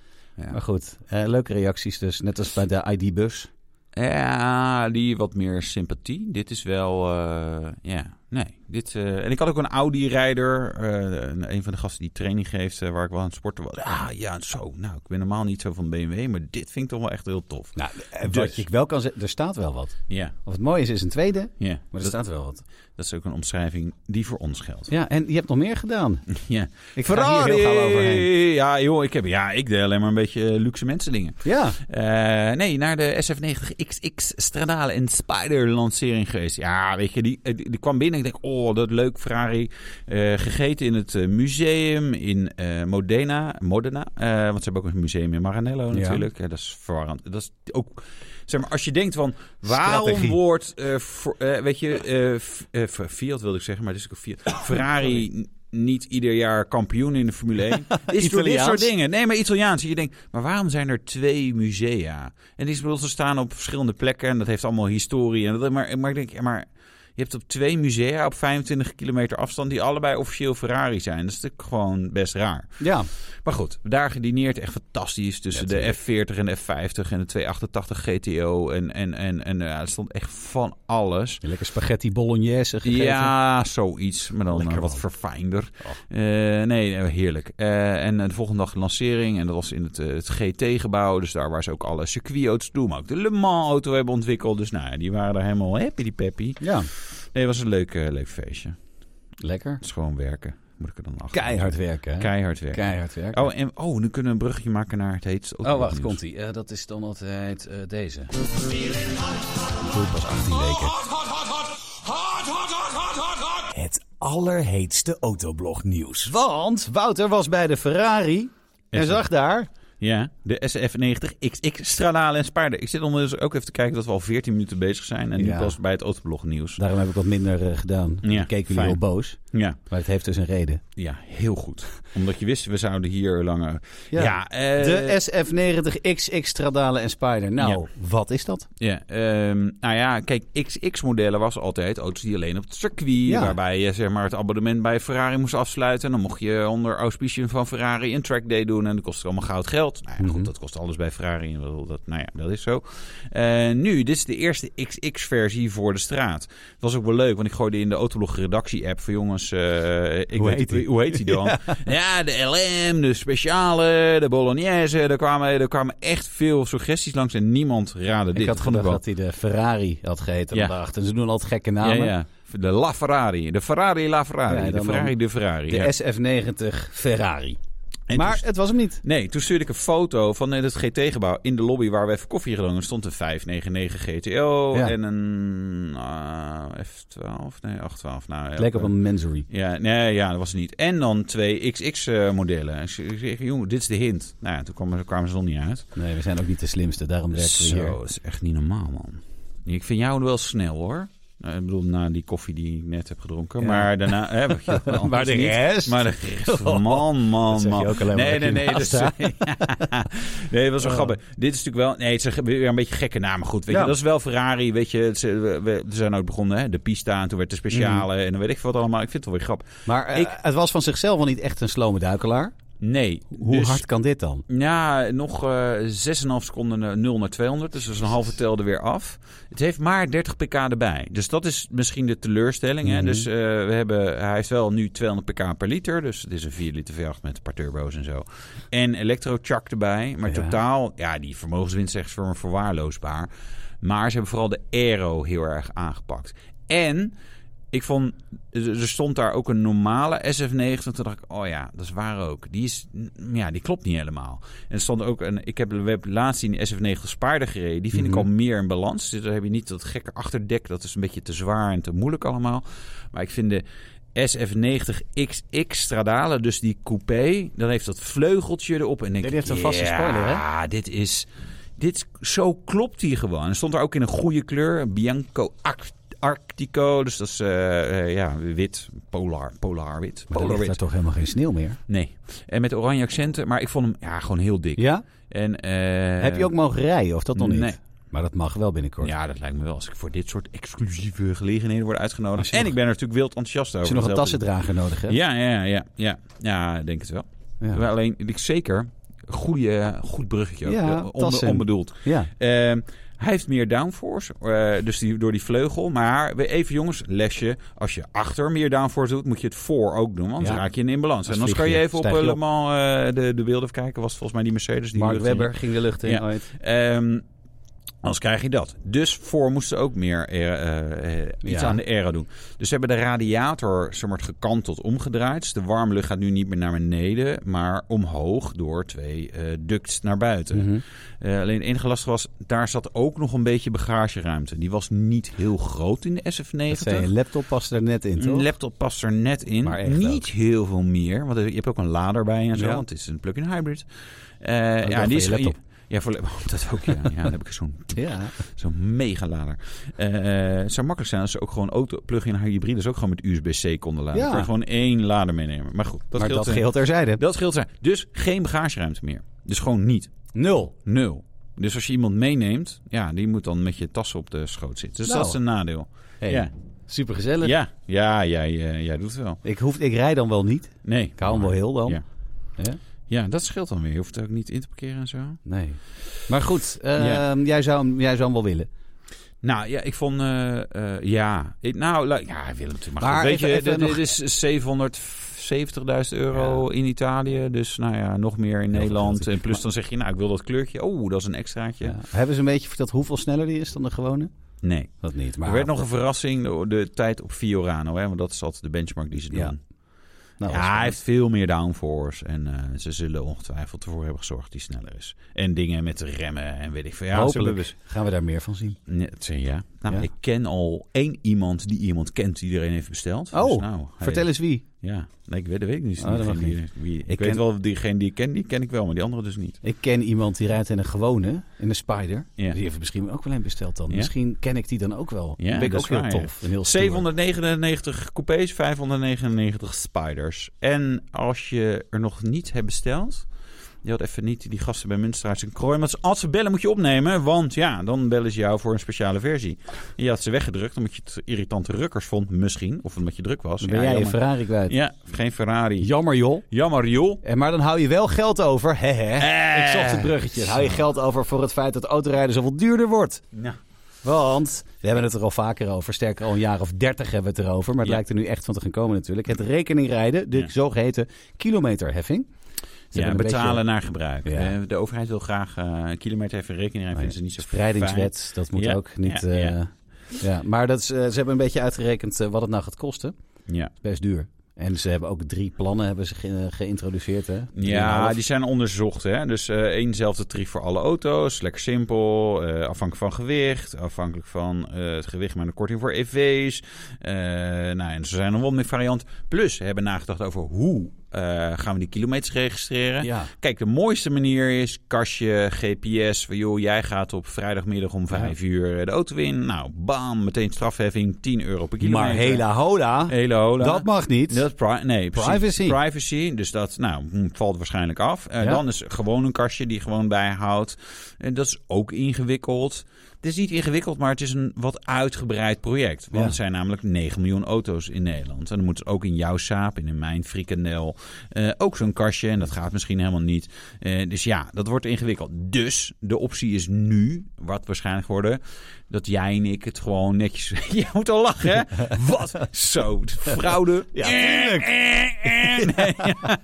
[SPEAKER 1] Ja.
[SPEAKER 2] Maar goed, eh, leuke reacties dus. Net als bij de ID-bus.
[SPEAKER 1] Ja, die wat meer sympathie. Dit is wel, eh, ja, nee. Dit, eh, en ik had ook een Audi-rijder, eh, een- een van de gasten die training geeft, eh, waar ik wel aan het sporten was. Ah, ja, zo. Nou, ik ben normaal niet zo van BMW, maar dit vind ik toch wel echt heel tof.
[SPEAKER 2] Nou, eh,
[SPEAKER 1] Dus.
[SPEAKER 2] wat ik wel kan zeggen, er staat wel wat.
[SPEAKER 1] Ja,
[SPEAKER 2] Of het mooie is, is een tweede, maar
[SPEAKER 1] ja.
[SPEAKER 2] er
[SPEAKER 1] dat,
[SPEAKER 2] staat wel wat.
[SPEAKER 1] dat is ook een omschrijving die voor ons geldt.
[SPEAKER 2] Ja, en je hebt nog meer gedaan.
[SPEAKER 1] Ja.
[SPEAKER 2] Ik ga hier heel gauw overheen.
[SPEAKER 1] Ja, joh, ik, heb, ja, ik deed alleen maar een beetje eh, luxe mensen dingen.
[SPEAKER 2] Ja,
[SPEAKER 1] Eh, nee, naar de SF90XX Stradale en Spider lancering geweest. Ja, weet je, die, eh, die, die kwam binnen. Ik denk, oh, dat leuk, Ferrari. Eh, gegeten in het eh, museum in eh, Modena. Modena eh, want ze hebben ook een museum in Maranello
[SPEAKER 2] Ja.
[SPEAKER 1] natuurlijk. Ja, dat is verwarrend. Dat is ook, zeg maar, als je denkt van, waarom
[SPEAKER 2] Strategie.
[SPEAKER 1] wordt, eh, voor- eh, weet je, eh, F- eh, F- Fiat wilde ik zeggen, maar het is ook een Fiat. Ferrari n- niet ieder jaar kampioen in de Formule 1. is door dit
[SPEAKER 2] Italiaans.
[SPEAKER 1] soort dingen. Nee, maar Italiaans. Je denkt, maar waarom zijn er twee musea? En die bedoel, ze staan op verschillende plekken en dat heeft allemaal historie. En dat, maar, maar ik denk, ja, maar je hebt op twee musea op 25 kilometer afstand die allebei officieel Ferrari zijn. Dat is natuurlijk gewoon best raar.
[SPEAKER 2] ja.
[SPEAKER 1] Maar goed, daar gedineerd echt fantastisch. Tussen de F40 en de F50 en de 288 GTO. En, en, en, en ja, er stond echt van alles.
[SPEAKER 2] Lekker spaghetti bolognese gegeten.
[SPEAKER 1] Ja, zoiets. Maar dan
[SPEAKER 2] Lekker,
[SPEAKER 1] eh, wat
[SPEAKER 2] man.
[SPEAKER 1] verfijnder.
[SPEAKER 2] Oh.
[SPEAKER 1] Eh, nee, nee, heerlijk. Eh, en de volgende dag de lancering. En dat was in het, eh, het GT-gebouw. Dus daar waar ze ook alle circuitauto's doen. Maar ook de Le Mans-auto hebben ontwikkeld. Dus nou, ja, die waren er helemaal happy, die peppy.
[SPEAKER 2] Ja,
[SPEAKER 1] Nee, het was een leuk, eh, leuk feestje.
[SPEAKER 2] lekker.
[SPEAKER 1] Het is gewoon werken. Moet ik er dan achter.
[SPEAKER 2] Keihard werken, hè?
[SPEAKER 1] Keihard werken.
[SPEAKER 2] Keihard werken.
[SPEAKER 1] Oh, en, oh, nu kunnen we een bruggetje maken naar het heetste
[SPEAKER 2] Oh, wacht,
[SPEAKER 1] autonieuws.
[SPEAKER 2] komt-ie. Eh, dat is dan altijd eh, deze. Ik doe het pas 18 weken. Het allerheetste autoblognieuws. Want Wouter was bij de Ferrari en
[SPEAKER 1] Echt?
[SPEAKER 2] zag daar
[SPEAKER 1] Ja, de SF90XX stralalen en spaarden. Ik zit ondertussen ook even te kijken dat we al 14 minuten bezig zijn. En nu
[SPEAKER 2] Ja.
[SPEAKER 1] pas bij het autoblog nieuws.
[SPEAKER 2] Daarom heb ik wat minder eh, gedaan.
[SPEAKER 1] Ja,
[SPEAKER 2] Ja, keken jullie
[SPEAKER 1] fijn.
[SPEAKER 2] heel boos.
[SPEAKER 1] Ja.
[SPEAKER 2] Maar het heeft dus een reden.
[SPEAKER 1] ja, heel goed. Omdat je wist, we zouden hier langer... Ja, eh,
[SPEAKER 2] De SF90XX Stradale en Spider. Nou, wat is dat?
[SPEAKER 1] Ja, ehm, nou ja, kijk, XX-modellen was altijd auto's die alleen op het circuit,
[SPEAKER 2] Ja.
[SPEAKER 1] waarbij je zeg maar, het abonnement bij Ferrari moest afsluiten. En dan mocht je onder auspiciën van Ferrari een trackday doen en dat kostte allemaal goud geld. Nou ja,
[SPEAKER 2] Mhm.
[SPEAKER 1] goed, dat kost alles bij Ferrari. en wel, Dat, nou ja, dat is zo. Eh, nu, dit is de eerste XX-versie voor de straat. Dat was ook wel leuk, want ik gooide in de Autolog-redactie-app van jongens, eh, ik
[SPEAKER 2] Hoe
[SPEAKER 1] weet-
[SPEAKER 2] heet die?
[SPEAKER 1] hoe heet die dan? Ja, de LM, de speciale, de Bolognese. Er kwamen, er kwamen echt veel suggesties langs en niemand raadde dit.
[SPEAKER 2] ik had
[SPEAKER 1] Vond
[SPEAKER 2] gedacht
[SPEAKER 1] wel-
[SPEAKER 2] dat hij de Ferrari had geheten.
[SPEAKER 1] Ja.
[SPEAKER 2] Ja. En ze doen altijd gekke
[SPEAKER 1] Ja,
[SPEAKER 2] namen.
[SPEAKER 1] ja. De La Ferrari. De Ferrari La Ferrari.
[SPEAKER 2] Ja,
[SPEAKER 1] de
[SPEAKER 2] dan
[SPEAKER 1] Ferrari de Ferrari.
[SPEAKER 2] De
[SPEAKER 1] ja.
[SPEAKER 2] SF90 Ferrari.
[SPEAKER 1] En
[SPEAKER 2] maar
[SPEAKER 1] toen-
[SPEAKER 2] het was hem niet.
[SPEAKER 1] Nee, toen stuurde ik een foto van het GT-gebouw in de lobby waar we even koffie gingen drinken. Er stond een 599 GTO
[SPEAKER 2] Ja.
[SPEAKER 1] en een ah, F12, nee, 812. Nou,
[SPEAKER 2] Het
[SPEAKER 1] ja,
[SPEAKER 2] leek op een Mansory.
[SPEAKER 1] Ja, nee, ja, dat was het niet. En dan twee eh, XX-modellen. ik zeg, jongen, dit is de hint. Nou ja, toen kwamen, kwamen ze nog niet uit.
[SPEAKER 2] Nee, we zijn ook niet de slimste. Daarom werken we
[SPEAKER 1] Zo,
[SPEAKER 2] hier.
[SPEAKER 1] dat is echt niet normaal, man. Ik vind jou wel snel, hoor. Nou, ik bedoel, na die koffie die ik net heb gedronken.
[SPEAKER 2] Ja.
[SPEAKER 1] Maar daarna... Hè, wat je wel
[SPEAKER 2] maar de
[SPEAKER 1] niet.
[SPEAKER 2] rest?
[SPEAKER 1] Maar de rest, man,
[SPEAKER 2] Dat
[SPEAKER 1] man,
[SPEAKER 2] zeg je
[SPEAKER 1] man.
[SPEAKER 2] ook alleen maar
[SPEAKER 1] Nee,
[SPEAKER 2] dat
[SPEAKER 1] nee,
[SPEAKER 2] je
[SPEAKER 1] nee. Dat
[SPEAKER 2] naast Oh.
[SPEAKER 1] is, nee, dat was wel grappig. Dit is natuurlijk wel... Nee, het is een- weer een beetje gekke naam. Maar goed, weet
[SPEAKER 3] Ja.
[SPEAKER 1] je, dat is wel Ferrari. Weet je, het, is, eh, we, we zijn ook begonnen, hè. De Pista en toen werd de Speciale.
[SPEAKER 2] Mhm.
[SPEAKER 1] En dan weet ik veel wat allemaal. Ik vind het wel weer grappig.
[SPEAKER 2] Maar eh,
[SPEAKER 1] Ik-
[SPEAKER 2] het was van zichzelf al niet echt een slome duikelaar.
[SPEAKER 1] Nee.
[SPEAKER 2] Hoe
[SPEAKER 1] dus-
[SPEAKER 2] hard kan dit dan?
[SPEAKER 1] Ja, nog eh 6,5 seconden eh, 0 naar 200. Dus dat is een halve tel er weer af. Het heeft maar 30 pk erbij. Dus dat is misschien de teleurstelling.
[SPEAKER 2] Mhm.
[SPEAKER 1] hè? Dus eh, we hebben, hij heeft wel nu 200 pk per liter. Dus het is een 4 liter V8 met een paar turbo's en zo. En elektrochak erbij. Maar
[SPEAKER 2] Ja.
[SPEAKER 1] totaal, ja, die vermogenswinst is echt voor me verwaarloosbaar. Maar ze hebben vooral de aero heel erg aangepakt. En... Ik vond, er er stond daar ook een normale SF90. Toen dacht ik, oh ja, dat is waar ook. Die, is, mm, ja, die klopt niet helemaal. En er stond ook een, ik heb, we hebben laatst die SF90 spaarder gereden. Die vind
[SPEAKER 2] Mhm.
[SPEAKER 1] ik al meer in balans. Dus daar heb je niet dat gekke achterdek. Dat is een beetje te zwaar en te moeilijk allemaal. Maar ik vind de SF90XX Stradale, dus die coupé, dan heeft dat vleugeltje erop. En denk
[SPEAKER 2] Dit
[SPEAKER 1] ik,
[SPEAKER 2] heeft een vaste
[SPEAKER 1] ja,
[SPEAKER 2] spoiler, hè?
[SPEAKER 1] ja, Ah, dit is. Dit, is- zo klopt hij gewoon. En stond er ook in een goede kleur. een Bianco Act- Arctico. Dus dat is eh, eh, ja, wit. Polar. Polar wit.
[SPEAKER 2] Maar er
[SPEAKER 1] Polar
[SPEAKER 2] ligt daar
[SPEAKER 1] wit.
[SPEAKER 2] toch helemaal geen sneeuw meer?
[SPEAKER 1] Nee. En met oranje accenten. Maar ik vond hem ja, gewoon heel dik.
[SPEAKER 2] Ja?
[SPEAKER 1] En, eh,
[SPEAKER 2] Heb je ook mogen rijden of dat nog niet?
[SPEAKER 1] nee.
[SPEAKER 2] Maar dat mag wel binnenkort.
[SPEAKER 1] Ja, dat lijkt me wel. Als ik voor dit soort exclusieve gelegenheden word
[SPEAKER 2] Als
[SPEAKER 1] uitgenodigd.
[SPEAKER 2] je
[SPEAKER 1] En
[SPEAKER 2] nog-
[SPEAKER 1] ik ben er natuurlijk wild enthousiast over.
[SPEAKER 2] Als je nog een
[SPEAKER 1] Dat helpt
[SPEAKER 2] tassendrager nodig hebt.
[SPEAKER 1] natuurlijk. Ja, ja, ja. Ja, ja ik denk het wel.
[SPEAKER 2] Ja.
[SPEAKER 1] Maar Alleen, ik zeker... Goeie, goed bruggetje ook.
[SPEAKER 2] Ja,
[SPEAKER 1] Eh, onbe-
[SPEAKER 2] tassen.
[SPEAKER 1] onbedoeld.
[SPEAKER 2] Ja.
[SPEAKER 1] Ehm, hij heeft meer downforce, eh, dus die, door die vleugel. Maar we- even jongens, lesje. Als je achter meer downforce doet, moet je het voor ook doen. Want
[SPEAKER 2] Ja.
[SPEAKER 1] dan raak je in imbalans.
[SPEAKER 2] Dan
[SPEAKER 1] En dan kan
[SPEAKER 2] vlieg
[SPEAKER 1] je
[SPEAKER 2] je,
[SPEAKER 1] even op,
[SPEAKER 2] stijg je
[SPEAKER 1] eh, Le
[SPEAKER 2] op.
[SPEAKER 1] Mans eh, de, de beelden even kijken. Was het volgens mij die Mercedes die
[SPEAKER 2] Mark
[SPEAKER 1] lucht in.
[SPEAKER 2] Webber ging de lucht in
[SPEAKER 1] Ja.
[SPEAKER 2] ooit.
[SPEAKER 1] Ehm, anders krijg je dat. Dus voor moesten ze ook meer eh, eh, eh, iets
[SPEAKER 2] Ja.
[SPEAKER 1] aan de aero doen. Dus ze hebben de radiator zeg maar, gekanteld, omgedraaid. Dus de warme lucht gaat nu niet meer naar beneden, maar omhoog door twee eh, ducts naar buiten.
[SPEAKER 2] Mhm.
[SPEAKER 1] Eh, alleen het enige lastige was, daar zat ook nog een beetje bagageruimte. Die was niet heel groot in de SF90.
[SPEAKER 2] Dat zei je laptop past er net in, toch?
[SPEAKER 1] Een laptop past er net in.
[SPEAKER 2] Maar echt
[SPEAKER 1] niet heel veel meer. Want je hebt ook een lader bij en zo.
[SPEAKER 2] Ja. Oh,
[SPEAKER 1] Want het is een plug-in hybrid. Eh,
[SPEAKER 2] dat
[SPEAKER 1] ja,
[SPEAKER 2] voor
[SPEAKER 1] die
[SPEAKER 2] je
[SPEAKER 1] is
[SPEAKER 2] laptop.
[SPEAKER 1] Ja, voor oh, dat ook. Ja, ja dan heb ik zo'n
[SPEAKER 2] ja.
[SPEAKER 1] zo'n mega lader. Eh, het zou makkelijk zijn als ze ook gewoon auto plug-in hybrides ook gewoon met USB-C konden laden.
[SPEAKER 2] Ja.
[SPEAKER 1] Dan kun je gewoon één lader meenemen. Maar goed, dat
[SPEAKER 2] maar
[SPEAKER 1] scheelt.
[SPEAKER 2] dat
[SPEAKER 1] eh,
[SPEAKER 2] geheel terzijde.
[SPEAKER 1] dat scheelt zijn. Dus geen bagageruimte meer. Dus gewoon niet.
[SPEAKER 2] Nul.
[SPEAKER 1] Nul. Dus als je iemand meeneemt, ja, die moet dan met je tas op de schoot zitten. Dus
[SPEAKER 2] Nou.
[SPEAKER 1] dat is een nadeel.
[SPEAKER 2] Hey,
[SPEAKER 1] Ja.
[SPEAKER 2] Supergezellig.
[SPEAKER 1] Ja, ja, jij, eh, jij doet het wel.
[SPEAKER 2] Ik, hoef, ik rij dan wel niet.
[SPEAKER 1] Nee.
[SPEAKER 2] Ik hou hem wel heel dan.
[SPEAKER 1] Ja.
[SPEAKER 2] Ja?
[SPEAKER 1] Ja, dat scheelt dan weer. Je hoeft het ook niet in te parkeren en zo.
[SPEAKER 2] Nee. Maar goed, eh,
[SPEAKER 1] Ja.
[SPEAKER 2] jij, zou, hem- jij zou hem wel willen.
[SPEAKER 1] Nou, ja, ik vond... eh, eh, ja, ik, nou, lu- ja, Willem, maar, maar
[SPEAKER 2] Maar
[SPEAKER 1] goed. Weet
[SPEAKER 2] even-
[SPEAKER 1] je,
[SPEAKER 2] even
[SPEAKER 1] dit-
[SPEAKER 2] nog-
[SPEAKER 1] dit is 770.000 euro in Italië. Dus nou ja, nog meer in
[SPEAKER 2] veel
[SPEAKER 1] Nederland.
[SPEAKER 2] geld.
[SPEAKER 1] En plus dan zeg je, nou, ik wil dat kleurtje. Oh, dat is een extraatje.
[SPEAKER 2] Ja. Eh, Hebben ze een beetje verteld hoeveel sneller die is dan de gewone?
[SPEAKER 1] Nee.
[SPEAKER 2] Dat niet.
[SPEAKER 1] er werd nog een verrassing, de, de tijd op Fiorano. Hè, want dat is altijd de benchmark die ze doen.
[SPEAKER 2] Ja. Nou,
[SPEAKER 1] ja, hij heeft veel meer downforce. En eh, ze zullen ongetwijfeld ervoor hebben gezorgd die sneller is. En dingen met remmen en weet ik veel. Ja, ze
[SPEAKER 2] Hopelijk.
[SPEAKER 1] hebben dus-
[SPEAKER 2] Gaan we daar meer van zien?
[SPEAKER 1] Nee, het zijn ja. Nou,
[SPEAKER 2] Ja.
[SPEAKER 1] ik ken al één iemand die iemand kent die iedereen heeft besteld.
[SPEAKER 2] Oh,
[SPEAKER 1] nou, hey.
[SPEAKER 2] Vertel eens wie.
[SPEAKER 1] Ja, nee, ik weet, dat weet ik niet.
[SPEAKER 2] Oh, dat mag
[SPEAKER 1] Diegene die- wie- ik
[SPEAKER 2] Ik
[SPEAKER 1] weet
[SPEAKER 2] ken-
[SPEAKER 1] wel, diegene die ik ken, die ken ik wel, maar die andere dus niet.
[SPEAKER 2] Ik ken iemand die rijdt in een gewone, in een Spider.
[SPEAKER 1] Ja.
[SPEAKER 2] Die heeft misschien ook wel een besteld dan.
[SPEAKER 1] Ja.
[SPEAKER 2] Misschien ken ik die dan ook wel.
[SPEAKER 1] Ja,
[SPEAKER 2] Ja, ben ik
[SPEAKER 1] dat
[SPEAKER 2] ook
[SPEAKER 1] is
[SPEAKER 2] heel
[SPEAKER 1] waar, ja.
[SPEAKER 2] tof. En heel stoer.
[SPEAKER 1] 799 coupés, 599 spiders. En als je er nog niet hebt besteld... Je had even niet die gasten bij Munstraars en Krooi. Maar als ze bellen moet je opnemen. Want ja, dan bellen ze jou voor een speciale versie. En je had ze weggedrukt omdat je het irritante rukkers vond. Misschien. Of omdat je druk was.
[SPEAKER 2] Dan ben
[SPEAKER 1] ja,
[SPEAKER 2] jij je
[SPEAKER 1] jammer.
[SPEAKER 2] Ferrari kwijt.
[SPEAKER 1] Ja, geen Ferrari.
[SPEAKER 2] Jammer joh.
[SPEAKER 1] Jammer joh.
[SPEAKER 2] En maar dan hou je wel geld over. Hè, hè.
[SPEAKER 1] Eh.
[SPEAKER 2] Ik zocht het bruggetje. Dan hou je geld over voor het feit dat autorijden zoveel duurder wordt.
[SPEAKER 1] Nou,
[SPEAKER 2] Want we hebben het er al vaker over. Sterker, al een jaar of dertig hebben we het erover. Maar het
[SPEAKER 1] Ja.
[SPEAKER 2] lijkt er nu echt van te gaan komen natuurlijk. Het rekeningrijden, de
[SPEAKER 1] Ja.
[SPEAKER 2] zogeheten kilometerheffing. Ze
[SPEAKER 1] ja,
[SPEAKER 2] hebben een
[SPEAKER 1] betalen
[SPEAKER 2] beetje- Oh
[SPEAKER 1] naar gebruik.
[SPEAKER 2] Ja.
[SPEAKER 1] Eh, De overheid wil graag eh kilometer even rekening.
[SPEAKER 2] Nee,
[SPEAKER 1] vinden ze niet zo fijn.
[SPEAKER 2] Spreidingswet, dat moet
[SPEAKER 1] Ja,
[SPEAKER 2] ook niet.
[SPEAKER 1] ja,
[SPEAKER 2] Ja,
[SPEAKER 1] ja.
[SPEAKER 2] ja. maar dat is, eh, ze hebben een beetje uitgerekend eh, wat het nou gaat kosten.
[SPEAKER 1] Ja.
[SPEAKER 2] Best duur. En ze hebben ook drie plannen hebben ze ge- eh, geïntroduceerd. Hè?
[SPEAKER 1] Ja,
[SPEAKER 2] Drieënhalf.
[SPEAKER 1] die zijn onderzocht. Hè? Dus eh éénzelfde tarief voor alle auto's. Lekker simpel. eh, afhankelijk van gewicht. Afhankelijk van eh, het gewicht met een korting voor EV's. Eh, nou, en er zijn nog wel meer varianten. Plus, we hebben nagedacht over hoe eh, gaan we die kilometers registreren.
[SPEAKER 2] ja.
[SPEAKER 1] Kijk, de mooiste manier is kastje, GPS. van, Joh, jij gaat op vrijdagmiddag om vijf uur de auto in. Nou, bam, meteen strafheffing 10 euro per kilometer.
[SPEAKER 2] Maar hela hola,
[SPEAKER 1] Hele hola.
[SPEAKER 2] dat mag niet.
[SPEAKER 1] Dat is pri- nee, precies.
[SPEAKER 2] Privacy.
[SPEAKER 1] Privacy, dus dat nou, hm, valt waarschijnlijk af. Eh,
[SPEAKER 2] Ja.
[SPEAKER 1] Dan is gewoon een kastje die gewoon bijhoudt. En dat is ook ingewikkeld. Het is niet ingewikkeld, maar het is een wat uitgebreid project. Want
[SPEAKER 2] Ja.
[SPEAKER 1] het zijn namelijk 9 miljoen auto's in Nederland. En dan moet ook in jouw saap, en in mijn frikandel, eh, ook zo'n kastje. En dat gaat misschien helemaal niet. Eh, dus ja, dat wordt ingewikkeld. Dus de optie is nu, wat waarschijnlijk worden, dat jij en ik het gewoon netjes... Je moet al lachen, hè? Wat? Zo, fraude.
[SPEAKER 2] Ja, tuurlijk.
[SPEAKER 1] Eh, eh, eh. Nee,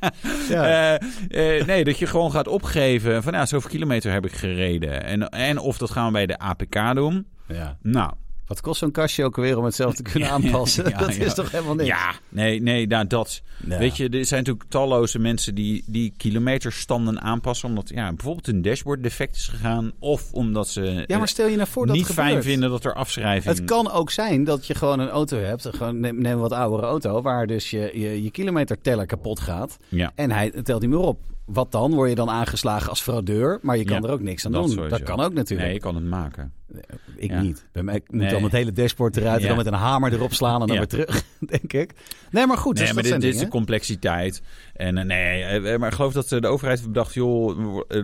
[SPEAKER 2] Ja.
[SPEAKER 1] eh, eh, nee, dat je gewoon gaat opgeven van ja, zoveel kilometer heb ik gereden. En, en of dat gaan we bij de APK doen.
[SPEAKER 2] Ja.
[SPEAKER 1] Nou,
[SPEAKER 2] Wat kost zo'n kastje ook weer om het zelf te kunnen aanpassen?
[SPEAKER 1] ja,
[SPEAKER 2] dat
[SPEAKER 1] ja.
[SPEAKER 2] is toch helemaal niks?
[SPEAKER 1] ja, nee, nee, nou, dat.
[SPEAKER 2] Ja.
[SPEAKER 1] Weet je, er zijn natuurlijk talloze mensen die, die kilometerstanden aanpassen. Omdat ja, bijvoorbeeld een dashboard defect is gegaan. Of omdat ze
[SPEAKER 2] Ja, maar
[SPEAKER 1] eh,
[SPEAKER 2] stel je nou voor dat
[SPEAKER 1] niet
[SPEAKER 2] het
[SPEAKER 1] fijn
[SPEAKER 2] gebeurt.
[SPEAKER 1] vinden dat er afschrijving...
[SPEAKER 2] Het kan ook zijn dat je gewoon een auto hebt, gewoon neem, neem een wat oudere auto, waar dus je, je, je kilometerteller kapot gaat.
[SPEAKER 1] Ja.
[SPEAKER 2] En hij telt niet meer op. Wat dan? Word je dan aangeslagen als fraudeur? Maar je kan
[SPEAKER 1] Ja,
[SPEAKER 2] er ook niks aan
[SPEAKER 1] dat
[SPEAKER 2] doen.
[SPEAKER 1] sowieso.
[SPEAKER 2] Dat kan ook natuurlijk.
[SPEAKER 1] Nee, je kan het maken.
[SPEAKER 2] ik
[SPEAKER 1] ja.
[SPEAKER 2] niet. Bij mij ik moet
[SPEAKER 1] Nee.
[SPEAKER 2] dan het hele dashboard eruit
[SPEAKER 1] Ja.
[SPEAKER 2] en dan met een hamer erop slaan en
[SPEAKER 1] Ja.
[SPEAKER 2] dan weer terug, denk ik. Nee, maar goed.
[SPEAKER 1] Nee,
[SPEAKER 2] dus
[SPEAKER 1] maar
[SPEAKER 2] dat
[SPEAKER 1] dit,
[SPEAKER 2] zijn
[SPEAKER 1] dit is de
[SPEAKER 2] dingen.
[SPEAKER 1] complexiteit. En eh, nee, eh, eh, maar ik geloof dat eh, de overheid heeft bedacht, joh, eh,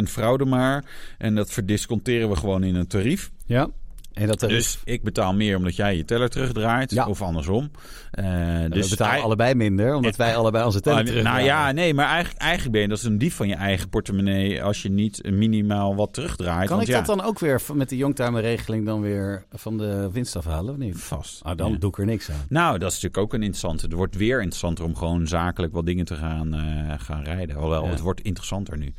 [SPEAKER 1] 2% fraude maar. En dat verdisconteren we gewoon in een tarief.
[SPEAKER 2] Ja. En dat eh, er
[SPEAKER 1] Dus ik betaal meer omdat jij je teller terugdraait.
[SPEAKER 2] Ja.
[SPEAKER 1] Of andersom. Eh,
[SPEAKER 2] dus
[SPEAKER 1] dus
[SPEAKER 2] we betalen
[SPEAKER 1] ei-
[SPEAKER 2] allebei minder, omdat wij allebei onze teller
[SPEAKER 1] Ah,
[SPEAKER 2] terug.
[SPEAKER 1] Nou ja, nee, maar eigenlijk, eigenlijk ben je dat is een dief van je eigen portemonnee als je niet minimaal wat terugdraait.
[SPEAKER 2] Kan
[SPEAKER 1] want
[SPEAKER 2] ik
[SPEAKER 1] ja,
[SPEAKER 2] dat dan ook weer van- met de Youngtimer-regeling dan weer van de winst afhalen of niet?
[SPEAKER 1] vast?
[SPEAKER 2] Ah, dan
[SPEAKER 1] Ja.
[SPEAKER 2] doe ik er niks aan.
[SPEAKER 1] Nou, dat is natuurlijk ook een interessante. Het wordt weer interessanter om gewoon zakelijk wat dingen te gaan, eh, gaan rijden. Hoewel,
[SPEAKER 2] Ja.
[SPEAKER 1] het wordt interessanter nu.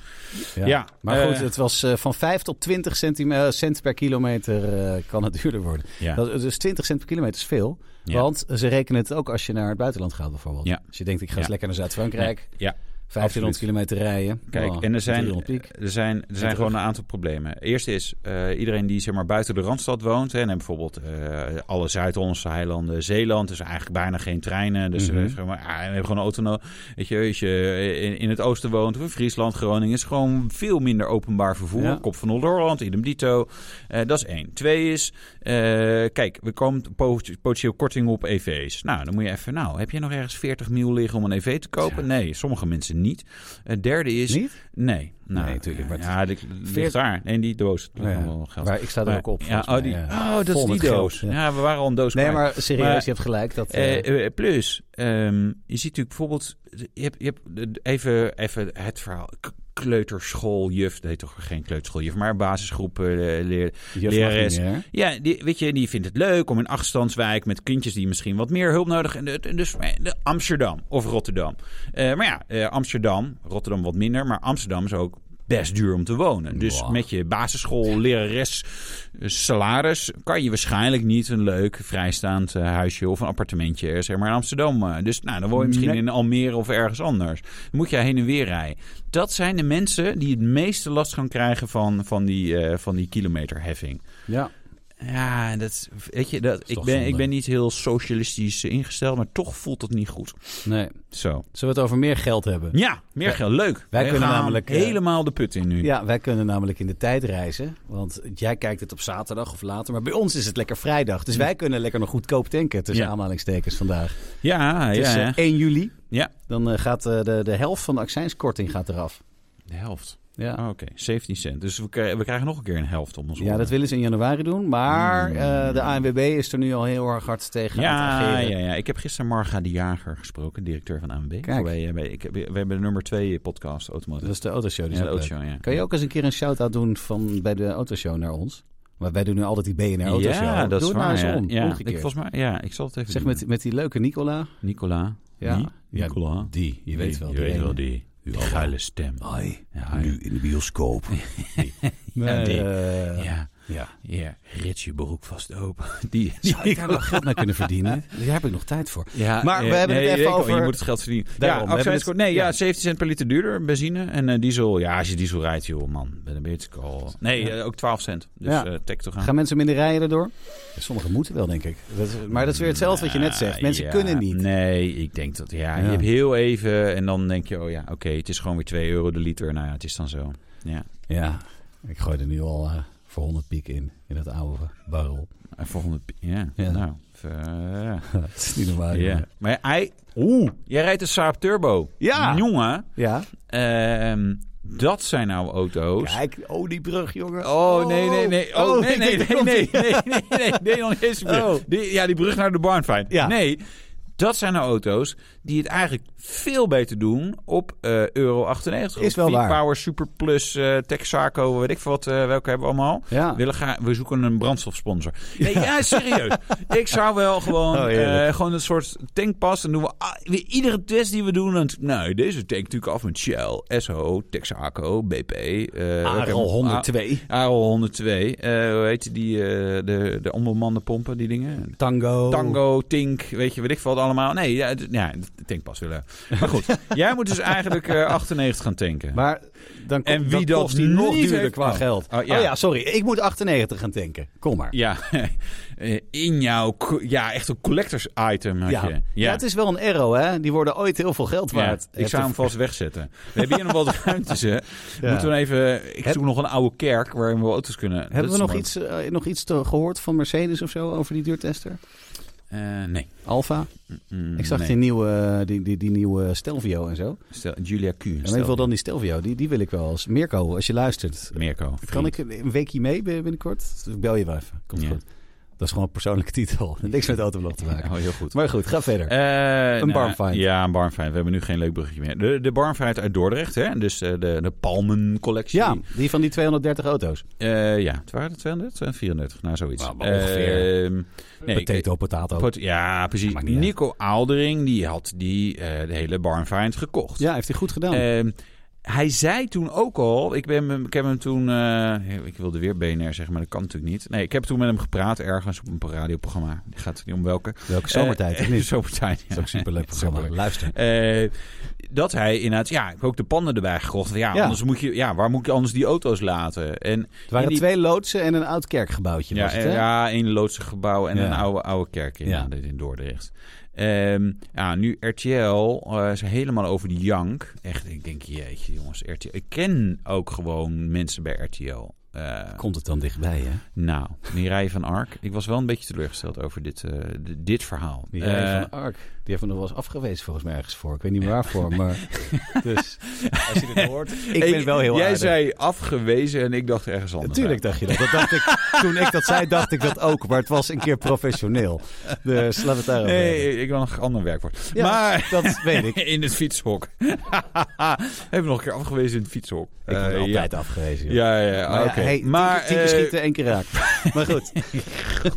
[SPEAKER 2] Ja.
[SPEAKER 1] Ja,
[SPEAKER 2] maar
[SPEAKER 1] eh,
[SPEAKER 2] goed, het was eh, van 5 tot 20 centime- eh, cent per kilometer eh, kan het duurder worden.
[SPEAKER 1] Ja.
[SPEAKER 2] Dat, dus 20 cent per kilometer is veel.
[SPEAKER 1] Ja.
[SPEAKER 2] Want ze rekenen het ook als je naar het buitenland gaat bijvoorbeeld.
[SPEAKER 1] Ja.
[SPEAKER 2] Als je denkt, ik ga eens
[SPEAKER 1] Ja.
[SPEAKER 2] lekker naar Zuid-Frankrijk.
[SPEAKER 1] ja,
[SPEAKER 2] 1500 kilometer rijden.
[SPEAKER 1] Kijk,
[SPEAKER 2] Oh,
[SPEAKER 1] en er zijn,
[SPEAKER 2] 300 piek.
[SPEAKER 1] er zijn, er zijn
[SPEAKER 2] terug.
[SPEAKER 1] gewoon een aantal problemen. Eerst is eh, iedereen die zeg maar, buiten de Randstad woont... Hè, en bijvoorbeeld eh, alle Zuid-Hollandse eilanden, Zeeland... dus eigenlijk bijna geen treinen. Dus eh,
[SPEAKER 2] Mhm.
[SPEAKER 1] zeg maar, ah, we hebben gewoon een auto nodig. Weet je, als je in, in het oosten woont, of in Friesland, Groningen... is gewoon veel minder openbaar vervoer.
[SPEAKER 2] Ja.
[SPEAKER 1] Kop van Noord-Holland, idem dito. Eh, dat is één. Twee is, eh, kijk, we komen pot- potentieel korting op EV's. Nou, dan moet je even... Nou, heb je nog ergens 40 mil liggen om een EV te kopen?
[SPEAKER 2] Ja.
[SPEAKER 1] Nee, sommige mensen niet. Het derde is...
[SPEAKER 2] Niet?
[SPEAKER 1] Nee, nou,
[SPEAKER 2] Nee, tuurlijk, maar het
[SPEAKER 1] ja, die ligt
[SPEAKER 2] Veert-
[SPEAKER 1] daar. Nee, die doos. Dat ligt
[SPEAKER 2] Ja.
[SPEAKER 1] nog wel geld.
[SPEAKER 2] Maar ik sta er
[SPEAKER 1] Maar-
[SPEAKER 2] ook op.
[SPEAKER 1] Ja,
[SPEAKER 2] volgens
[SPEAKER 1] oh,
[SPEAKER 2] mij,
[SPEAKER 1] die,
[SPEAKER 2] ja.
[SPEAKER 1] oh, dat
[SPEAKER 2] Vol
[SPEAKER 1] is die
[SPEAKER 2] met geld,
[SPEAKER 1] doos.
[SPEAKER 2] ja.
[SPEAKER 1] Ja, we waren al een doos
[SPEAKER 2] Nee,
[SPEAKER 1] kwijt.
[SPEAKER 2] maar serieus,
[SPEAKER 1] Maar-
[SPEAKER 2] je hebt gelijk. Dat, eh,
[SPEAKER 1] Eh, eh, plus, ehm, je ziet natuurlijk bijvoorbeeld... Je hebt, je hebt eh, even, even het verhaal... K- Kleuterschooljuf, nee toch geen kleuterschooljuf, maar basisgroepen eh, leer,
[SPEAKER 2] juf mag
[SPEAKER 1] lerares.
[SPEAKER 2] niet meer.
[SPEAKER 1] Ja, die, weet je, die vindt het leuk om in achterstandswijk met kindjes die misschien wat meer hulp nodig hebben. En Dus eh, de Amsterdam of Rotterdam. Eh, maar ja, eh, Amsterdam, Rotterdam wat minder, maar Amsterdam is ook best duur om te wonen. Dus
[SPEAKER 2] Wow.
[SPEAKER 1] met je basisschool, lerares, eh, salaris kan je waarschijnlijk niet een leuk vrijstaand eh, huisje of een appartementje eh, zeg maar in Amsterdam. eh, Dus nou, dan woon je misschien
[SPEAKER 2] Nee.
[SPEAKER 1] in Almere of ergens anders. Dan moet je heen en weer rijden. Dat zijn de mensen die het meeste last gaan krijgen van, van, die, eh, van die kilometerheffing.
[SPEAKER 2] Ja.
[SPEAKER 1] Ja, dat, weet je, dat, ik,
[SPEAKER 2] toch
[SPEAKER 1] ben, ik
[SPEAKER 2] zonde.
[SPEAKER 1] ben niet heel socialistisch eh, ingesteld, maar toch voelt het niet goed.
[SPEAKER 2] Nee.
[SPEAKER 1] Zo.
[SPEAKER 2] Zullen we het over meer geld hebben?
[SPEAKER 1] Ja, meer
[SPEAKER 2] Ja.
[SPEAKER 1] geld. Leuk.
[SPEAKER 2] Wij
[SPEAKER 1] We
[SPEAKER 2] kunnen
[SPEAKER 1] gaan
[SPEAKER 2] namelijk, eh,
[SPEAKER 1] helemaal de put in nu.
[SPEAKER 2] Ja, wij kunnen namelijk in de tijd reizen. Want jij kijkt het op zaterdag of later. Maar bij ons is het lekker vrijdag. Dus wij kunnen lekker nog goedkoop tanken. Tussen
[SPEAKER 1] Ja.
[SPEAKER 2] aanhalingstekens vandaag.
[SPEAKER 1] ja,
[SPEAKER 2] Het is
[SPEAKER 1] ja,
[SPEAKER 2] eh,
[SPEAKER 1] ja.
[SPEAKER 2] 1 juli.
[SPEAKER 1] Ja.
[SPEAKER 2] Dan eh, gaat eh, de, de helft van de accijnskorting gaat eraf.
[SPEAKER 1] De helft.
[SPEAKER 2] Ja.
[SPEAKER 1] Oh, Oké, 17 cent. Dus we, kri- we krijgen nog een keer een helft om ons
[SPEAKER 2] ja, dat willen ze in januari doen. Maar
[SPEAKER 1] Mm.
[SPEAKER 2] eh, de ANWB is er nu al heel erg hard tegen aan het
[SPEAKER 1] Ja,
[SPEAKER 2] ageren.
[SPEAKER 1] ja, ja, ik heb gisteren Marga de Jager gesproken, directeur van AMB.
[SPEAKER 2] Kijk.
[SPEAKER 1] Bij, eh, bij- ik, heb- we hebben de nummer 2 podcast,
[SPEAKER 2] Dat
[SPEAKER 1] Automotive. Dus
[SPEAKER 2] is de autoshow. Die
[SPEAKER 1] ja,
[SPEAKER 2] is
[SPEAKER 1] de
[SPEAKER 2] ook leuk.
[SPEAKER 1] autoshow, ja.
[SPEAKER 2] Kan je ook eens een keer een shout-out doen van, bij de autoshow naar ons? Maar wij doen nu altijd die BNR autoshow.
[SPEAKER 1] Ja, dat
[SPEAKER 2] Doe
[SPEAKER 1] is
[SPEAKER 2] het nou
[SPEAKER 1] waar.
[SPEAKER 2] eens
[SPEAKER 1] ja.
[SPEAKER 2] om.
[SPEAKER 1] Ja, ik,
[SPEAKER 2] omgekeerd.
[SPEAKER 1] volgens mij, ja, ik zal het even
[SPEAKER 2] Zeg
[SPEAKER 1] doen.
[SPEAKER 2] met, met die leuke Nicola.
[SPEAKER 1] Nicola.
[SPEAKER 2] Ja.
[SPEAKER 1] Die?
[SPEAKER 2] Ja,
[SPEAKER 1] Nicola.
[SPEAKER 2] Die, je weet wel.
[SPEAKER 1] Je
[SPEAKER 2] die
[SPEAKER 1] weet
[SPEAKER 2] ene.
[SPEAKER 1] wel, die, die geile stem.
[SPEAKER 2] Hoi,
[SPEAKER 1] Ja,
[SPEAKER 2] nu in de bioscoop. Nee,
[SPEAKER 1] die.
[SPEAKER 2] eh,
[SPEAKER 1] Ja,
[SPEAKER 2] ja.
[SPEAKER 1] ja. Rits je broek vast open. Die,
[SPEAKER 2] Zou ik daar nog geld naar kunnen verdienen? Daar heb ik nog tijd voor.
[SPEAKER 1] Ja,
[SPEAKER 2] Maar we
[SPEAKER 1] eh,
[SPEAKER 2] hebben het
[SPEAKER 1] nee,
[SPEAKER 2] even
[SPEAKER 1] ik-
[SPEAKER 2] over-
[SPEAKER 1] Je moet het geld verdienen.
[SPEAKER 2] Daarom, we
[SPEAKER 1] ja,
[SPEAKER 2] hebben
[SPEAKER 1] accijns-
[SPEAKER 2] het-
[SPEAKER 1] nee, ja.
[SPEAKER 2] ja.
[SPEAKER 1] 17 cent per liter duurder, benzine. En eh, diesel, ja, als je diesel rijdt, joh, man. Ben een beetje al... Nee,
[SPEAKER 2] Ja.
[SPEAKER 1] eh, ook 12 cent. Dus
[SPEAKER 2] Ja.
[SPEAKER 1] eh, tek toch aan.
[SPEAKER 2] Gaan mensen minder rijden daardoor? Sommigen moeten wel, denk ik. Dat is- maar dat is weer hetzelfde wat je net zegt. Mensen
[SPEAKER 1] Ja,
[SPEAKER 2] kunnen niet.
[SPEAKER 1] Nee, ik denk dat, ja, je
[SPEAKER 2] Ja.
[SPEAKER 1] hebt heel even en dan denk je, oh ja, oké, het is gewoon weer 2 euro de liter. Nou ja, het is dan zo. Ja,
[SPEAKER 2] Ja, ik gooi er nu al eh, voor 100 piek in. In dat oude barrel.
[SPEAKER 1] en volgende, ja,
[SPEAKER 2] Ja.
[SPEAKER 1] nou, eh,
[SPEAKER 2] Het is niet normaal.
[SPEAKER 1] ja.
[SPEAKER 2] jongen.
[SPEAKER 1] Maar hij, oeh, jij rijdt een Saab Turbo.
[SPEAKER 2] Ja.
[SPEAKER 1] Jongen,
[SPEAKER 2] Ja.
[SPEAKER 1] ehm, dat zijn nou auto's.
[SPEAKER 2] Kijk, oh die brug, jongen.
[SPEAKER 1] Oh, nee, nee, nee. Oh, nee,
[SPEAKER 2] ik
[SPEAKER 1] nee,
[SPEAKER 2] denk,
[SPEAKER 1] nee,
[SPEAKER 2] daar
[SPEAKER 1] nee,
[SPEAKER 2] komt-ie.
[SPEAKER 1] nee, nee, nee, nee, nog niet eens een brug.
[SPEAKER 2] Oh.
[SPEAKER 1] Die, ja, die brug naar de Barnfijn.
[SPEAKER 2] Ja.
[SPEAKER 1] Nee, dat zijn nou auto's die het eigenlijk veel beter doen op eh, euro 98.
[SPEAKER 2] Is wel waar.
[SPEAKER 1] Power Super Plus, eh, Texaco, weet ik veel wat, eh, welke hebben we allemaal.
[SPEAKER 2] Ja.
[SPEAKER 1] Willen gaan, we zoeken een brandstofsponsor. Nee, ja, serieus. ik zou wel gewoon,
[SPEAKER 2] Oh, heerlijk.
[SPEAKER 1] eh, gewoon een soort tankpas. Dan doen we ah, weer iedere test die we doen. Dan, nou, deze tank natuurlijk af met Shell, SO, Texaco, BP.
[SPEAKER 2] Ah,
[SPEAKER 1] eh, welke-
[SPEAKER 2] Arel 102.
[SPEAKER 1] Arel 102. eh hoe heet die? eh, de, de onbemande pompen, die
[SPEAKER 2] Oh.
[SPEAKER 1] dingen.
[SPEAKER 2] Tango.
[SPEAKER 1] Tango, Tink, weet je, weet ik veel wat allemaal. Nee, ja, d- ja tankpas willen. Maar goed, jij moet dus eigenlijk eh, 98 gaan tanken.
[SPEAKER 2] Maar dan komt,
[SPEAKER 1] En wie
[SPEAKER 2] dan
[SPEAKER 1] dat
[SPEAKER 2] kost die nog
[SPEAKER 1] niet
[SPEAKER 2] duurder
[SPEAKER 1] heeft-
[SPEAKER 2] qua
[SPEAKER 1] Oh.
[SPEAKER 2] geld.
[SPEAKER 1] Oh, ja.
[SPEAKER 2] sorry. Ik moet 98 gaan tanken. Kom maar.
[SPEAKER 1] Ja, eh, in jouw... co- Ja, echt een collectors item had
[SPEAKER 2] Ja.
[SPEAKER 1] je.
[SPEAKER 2] Ja, het is wel een arrow, hè? Die worden ooit heel veel geld
[SPEAKER 1] Ja,
[SPEAKER 2] waard.
[SPEAKER 1] ik zou hem vast wegzetten. We hebben hier nog wat ruimtes, hè.
[SPEAKER 2] Ja.
[SPEAKER 1] Moeten we even... Ik
[SPEAKER 2] Heb-
[SPEAKER 1] zoek nog een oude kerk waarin we auto's kunnen... dat
[SPEAKER 2] Hebben we
[SPEAKER 1] is
[SPEAKER 2] nog
[SPEAKER 1] maar-
[SPEAKER 2] iets, eh, nog iets te- gehoord van Mercedes of zo over die duurtester?
[SPEAKER 1] Eh, nee.
[SPEAKER 2] Alfa?
[SPEAKER 1] Mm,
[SPEAKER 2] Ik zag
[SPEAKER 1] nee.
[SPEAKER 2] die, nieuwe, eh, die, die, die nieuwe Stelvio en zo.
[SPEAKER 1] Stel, Julia Q.
[SPEAKER 2] En in
[SPEAKER 1] stel.
[SPEAKER 2] ieder geval dan die Stelvio, die, die wil ik wel eens. Mirko, als je luistert.
[SPEAKER 1] Mirko.
[SPEAKER 2] Kan ik een weekje mee bin- binnenkort? Ik bel je wel even. Komt
[SPEAKER 1] Ja.
[SPEAKER 2] goed. Dat is gewoon een persoonlijke titel. Niks met autoblog te maken.
[SPEAKER 1] Oh, heel goed.
[SPEAKER 2] Maar goed, ga verder.
[SPEAKER 1] Eh,
[SPEAKER 2] Een barnfight.
[SPEAKER 1] Ja, een barnfight. We hebben nu geen leuk bruggetje meer. De, de barnfight uit Dordrecht, hè? Dus eh, de, de Palmen-collectie.
[SPEAKER 2] Ja, die van die 230 auto's.
[SPEAKER 1] Eh, ja, het waren er 200, 34, nou zoiets.
[SPEAKER 2] Nou, maar ongeveer.
[SPEAKER 1] Ehm, nee, ik-
[SPEAKER 2] potato, potato.
[SPEAKER 1] pot- ja, precies.
[SPEAKER 2] Maakt niet uit.
[SPEAKER 1] Nico Aldering, die had die, eh, de hele barnfight gekocht.
[SPEAKER 2] ja, heeft hij goed gedaan.
[SPEAKER 1] Ehm, hij zei toen ook al, ik, ben, hem- ik heb hem toen, eh, ik wilde weer BNR zeggen, maar dat kan natuurlijk niet. Nee, ik heb toen met hem gepraat ergens op een radioprogramma. Het gaat er niet om welke.
[SPEAKER 2] Welke zomertijd,
[SPEAKER 1] Eh,
[SPEAKER 2] of niet?
[SPEAKER 1] zomertijd, ja.
[SPEAKER 2] Dat is ook een superleuk
[SPEAKER 1] Superleuk.
[SPEAKER 2] programma. Luister.
[SPEAKER 1] Eh, dat hij inderdaad, ja, ik heb ook de panden erbij gekocht. Ja,
[SPEAKER 2] Ja.
[SPEAKER 1] Anders moet je, ja, waar moet je anders die auto's laten? En
[SPEAKER 2] Het waren
[SPEAKER 1] in die-
[SPEAKER 2] twee loodsen en een oud kerkgebouwtje
[SPEAKER 1] ja,
[SPEAKER 2] was het,
[SPEAKER 1] eh,
[SPEAKER 2] hè?
[SPEAKER 1] ja, een loodsengebouw en
[SPEAKER 2] Ja.
[SPEAKER 1] een oude, oude kerk in, eh,
[SPEAKER 2] Ja.
[SPEAKER 1] in Dordrecht. Ehm, ja, nu RTL, eh is helemaal over de jank. Echt, ik denk, jeetje jongens, RTL. Ik ken ook gewoon mensen bij RTL. Eh,
[SPEAKER 2] Komt het dan dichtbij, hè?
[SPEAKER 1] nou, Mireille van Ark. Ik was wel een beetje teleurgesteld over dit, eh, d- dit verhaal.
[SPEAKER 2] Die
[SPEAKER 1] Eh,
[SPEAKER 2] van Ark, die heeft me nog wel eens afgewezen volgens mij ergens voor. Ik weet niet meer waarvoor, maar... Dus, als je dit hoort, ik ben wel heel
[SPEAKER 1] Jij
[SPEAKER 2] aardig.
[SPEAKER 1] zei afgewezen en ik dacht ergens anders.
[SPEAKER 2] Natuurlijk dacht je dat. dat dacht ik, toen ik dat zei, dacht ik dat ook. Maar het was een keer professioneel. Dus laten we het daarover hebben.
[SPEAKER 1] Nee, ik wil nog een ander werkwoord.
[SPEAKER 2] Ja,
[SPEAKER 1] maar
[SPEAKER 2] dat weet ik.
[SPEAKER 1] in het fietshok. Heb ik nog een keer afgewezen in het fietshok.
[SPEAKER 2] Ik word
[SPEAKER 1] Eh,
[SPEAKER 2] altijd afgewezen. joh.
[SPEAKER 1] Ja, ja, ja.
[SPEAKER 2] Maar
[SPEAKER 1] Ah, oké.
[SPEAKER 2] ja, hey, tien-
[SPEAKER 1] maar
[SPEAKER 2] tien keer
[SPEAKER 1] eh,
[SPEAKER 2] schieten, één keer raak. Maar goed.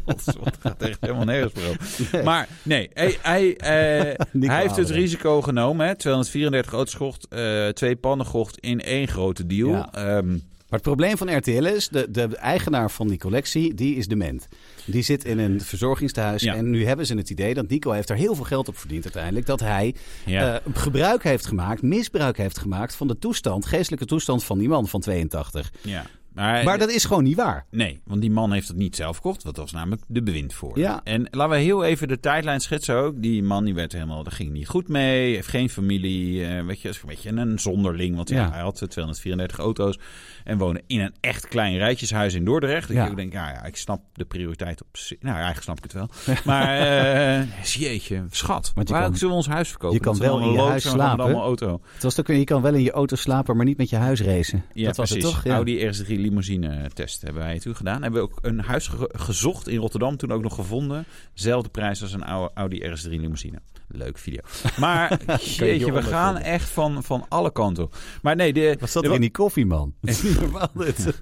[SPEAKER 1] gods, wat gaat echt helemaal nergens meer over. Maar nee, hij, hij, eh,
[SPEAKER 2] Nico
[SPEAKER 1] hij heeft het
[SPEAKER 2] Adering.
[SPEAKER 1] risico genomen. Hè? 234 auto's gekocht, eh, twee pannen gekocht in één grote deal.
[SPEAKER 2] Ja.
[SPEAKER 1] Ehm,
[SPEAKER 2] Maar het probleem van RTL is, de, de eigenaar van die collectie, die is dement. Die zit in een verzorgingstehuis
[SPEAKER 1] Ja.
[SPEAKER 2] en nu hebben ze het idee dat Nico heeft er heel veel geld op verdiend uiteindelijk. Dat hij
[SPEAKER 1] Ja.
[SPEAKER 2] eh, gebruik heeft gemaakt, misbruik heeft gemaakt van de toestand, geestelijke toestand van die man van 82.
[SPEAKER 1] ja. Maar,
[SPEAKER 2] Maar dat is gewoon niet waar.
[SPEAKER 1] Nee, want die man heeft het niet zelf gekocht. Dat was namelijk de bewindvoerder.
[SPEAKER 2] Ja.
[SPEAKER 1] En laten we heel even de tijdlijn schetsen ook. Die man die werd helemaal, daar ging niet goed mee. Heeft geen familie. eh, weet je, is een beetje een zonderling. Want ja,
[SPEAKER 2] Ja.
[SPEAKER 1] hij had 234 auto's. En woonde in een echt klein rijtjeshuis in Dordrecht. Dat
[SPEAKER 2] Ja.
[SPEAKER 1] je ook denkt, ja, ja, ik snap de prioriteit op zich. Nou, eigenlijk snap ik het wel. Maar eh jeetje, schat.
[SPEAKER 2] Want je
[SPEAKER 1] waar
[SPEAKER 2] kan-
[SPEAKER 1] zullen we ons huis verkopen?
[SPEAKER 2] je kan
[SPEAKER 1] Dat zijn
[SPEAKER 2] wel in je
[SPEAKER 1] allemaal
[SPEAKER 2] huis
[SPEAKER 1] loods en we gaan met
[SPEAKER 2] slapen.
[SPEAKER 1] allemaal auto.
[SPEAKER 2] Het was ook, weer, je kan wel in je auto slapen, maar niet met je huis racen.
[SPEAKER 1] Ja,
[SPEAKER 2] dat was
[SPEAKER 1] precies.
[SPEAKER 2] het toch? Ja.
[SPEAKER 1] Audi RS3 limousine test hebben wij toen gedaan. Hebben we ook een huis ge- gezocht in Rotterdam, toen ook nog gevonden. Zelfde prijs als een oude Audi RS3 limousine. Leuk video. Maar jeetje, we
[SPEAKER 2] hieronder
[SPEAKER 1] gaan
[SPEAKER 2] vinden.
[SPEAKER 1] echt van, van alle kanten op. Maar nee, de,
[SPEAKER 2] Wat zat
[SPEAKER 1] de-
[SPEAKER 2] er in die koffie, man? Dat is niet normaal dit.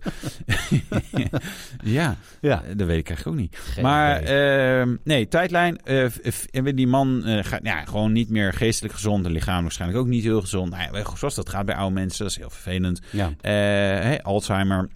[SPEAKER 1] ja, eh,
[SPEAKER 2] Ja.
[SPEAKER 1] dat weet ik eigenlijk ook niet. maar ehm, nee, tijdlijn. eh, f- f- en die man eh, gaat nou ja, gewoon niet meer geestelijk gezond. En lichaam waarschijnlijk ook niet heel gezond. Nou ja, zoals dat gaat bij oude mensen, dat is heel vervelend.
[SPEAKER 2] ja.
[SPEAKER 1] Eh, hè, Alzheimer.